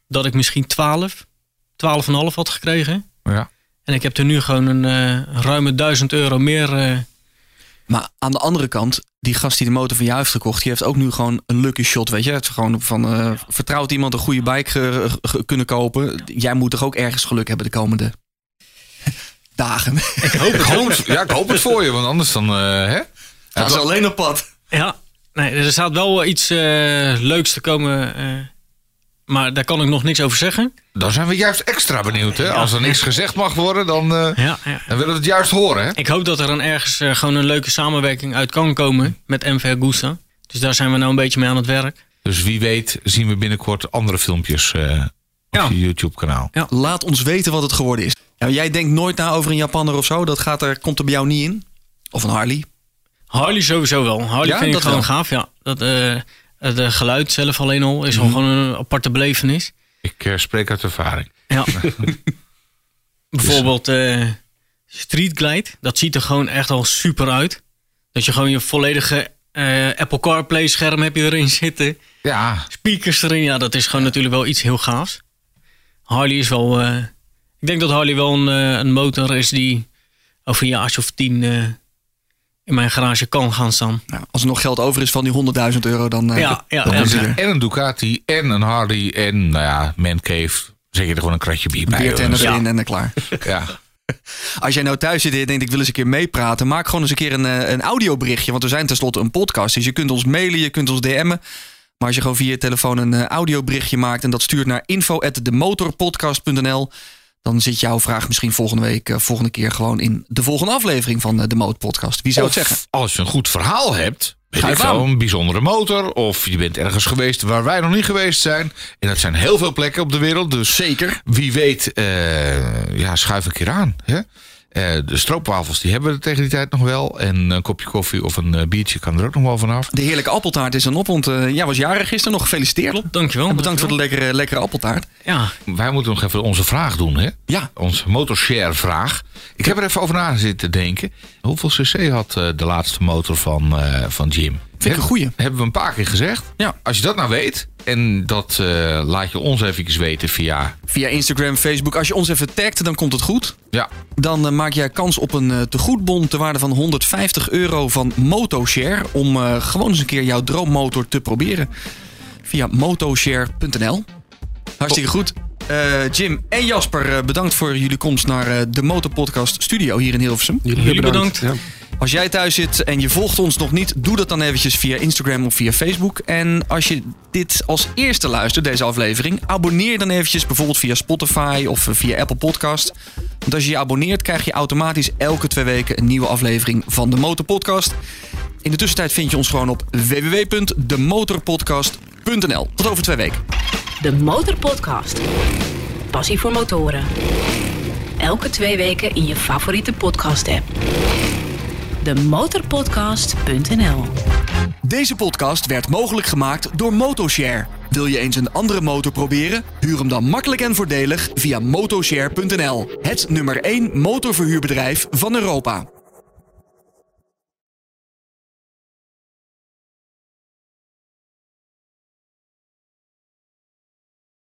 dat ik misschien 12, 12,5 had gekregen.
Ja.
En ik heb er nu gewoon een eh, ruime 1000 euro meer eh,
Maar aan de andere kant, die gast die de motor van jou heeft gekocht, die heeft ook nu gewoon een lucky shot. Weet je, het is gewoon van eh, vertrouwt iemand een goede bike ge- ge- kunnen kopen. Jij moet toch ook ergens geluk hebben de komende dagen.
Ik hoop het, ja, ik hoop het voor je, want anders dan... eh, hè?
Gaan ze alleen op pad.
Ja, nee, er staat wel iets eh, leuks te komen eh, Maar daar kan ik nog niks over zeggen.
Dan zijn we juist extra benieuwd. Hè? Als er niks gezegd mag worden, dan, eh,
Ja, ja.
dan willen we het juist horen. Hè?
Ik hoop dat er dan ergens eh, gewoon een leuke samenwerking uit kan komen met MV Gusta. Dus daar zijn we nou een beetje mee aan het werk.
Dus wie weet zien we binnenkort andere filmpjes eh,
Ja.
op je YouTube-kanaal.
Laat ons weten wat het geworden is. Ja, jij denkt nooit na over een Japanner of zo. Dat gaat er, komt er bij jou niet in. Of een Harley.
Harley sowieso wel. Harley
Ja,
vind ik
dat
gewoon
wel.
gaaf. Ja. Dat, eh, het eh, geluid zelf alleen al is
Mhm.
al gewoon een aparte belevenis.
Dus-
Ik eh, spreek uit ervaring.
Ja. Bijvoorbeeld eh Street Glide. Dat ziet er gewoon echt al super uit. Dat je gewoon je volledige eh, Apple CarPlay scherm heb je erin zitten.
Ja,
Speakers erin. Ja, dat is gewoon natuurlijk wel iets heel gaafs. Harley is wel... eh, ik denk dat Harley wel een, eh, een motor is die over een jaartje of tien eh, in mijn garage kan gaan staan.
Nou, als er nog geld over is van die 100.000 euro, dan... eh,
Ja, ja,
dan
ja.
is het er.
en een Ducati en een Harley en nou ja, Man Cave. Zeg je er gewoon een kratje bier bij.
Beertender
jongens.
erin en dan klaar.
ja.
Als jij nou thuis zit en je denkt ik wil eens een keer meepraten, maak gewoon eens een keer een, eh, een audioberichtje. Want we zijn tenslotte een podcast. Dus je kunt ons mailen, je kunt ons DM'en. Maar als je gewoon via je telefoon een eh, audioberichtje maakt en dat stuurt naar info.demotorpodcast.nl, dan zit jouw vraag misschien volgende week, eh, volgende keer gewoon in de volgende aflevering van eh, de Moot Podcast. Wie zou
Of
het zeggen?
Als je een goed verhaal hebt, weet
Ga je
ik wel,
gang.
een bijzondere motor. Of je bent ergens geweest waar wij nog niet geweest zijn. En dat zijn heel veel plekken op de wereld. Dus
Zeker.
wie weet, eh, ja, schuif een keer aan. Hè? Eh, de stroopwafels die hebben we tegen die tijd nog wel. En een kopje koffie of een eh, biertje kan er ook nog wel vanaf.
De heerlijke appeltaart is dan op, want eh, jij was jarig gisteren nog gefeliciteerd.
Klopt, dankjewel.
En bedankt voor de lekkere, lekkere appeltaart.
Ja,
Wij moeten nog even onze vraag doen, hè?
Ja.
Onze motorshare vraag. Ik heb er even over na zitten denken. Hoeveel cc had eh, de laatste motor van, eh, van Jim?
ik een goeie.
Hebben we een paar keer gezegd.
Ja.
Als je dat nou weet, en dat eh, laat je ons eventjes weten via...
Via Instagram, Facebook. Als je ons even tagt, dan komt het goed.
Ja,
Dan eh, maak jij kans op een eh, tegoedbon ter waarde van 150 euro van Motoshare. Om eh, gewoon eens een keer jouw droommotor te proberen. Via motoshare.nl. Hartstikke goed. Eh, Jim en Jasper, eh, bedankt voor jullie komst naar eh, de Motorpodcast Studio hier in Hilversum.
Jullie
Ja.
Als jij thuis zit en je volgt ons nog niet, doe dat dan eventjes via Instagram of via Facebook. En als je dit als eerste luistert, deze aflevering, abonneer dan eventjes bijvoorbeeld via Spotify of eh, via Apple Podcast. Want als je je abonneert, krijg je automatisch elke twee weken een nieuwe aflevering van de Motorpodcast. In de tussentijd vind je ons gewoon op www.demotorpodcast.nl. Tot over twee weken.
De Motorpodcast. Passie voor motoren. Elke twee weken in je favoriete podcast-app. Demotorpodcast.nl
Deze podcast werd mogelijk gemaakt door Motoshare. Wil je eens een andere motor proberen? Huur hem dan makkelijk en voordelig via motoshare.nl. Het nummer 1 motorverhuurbedrijf van Europa.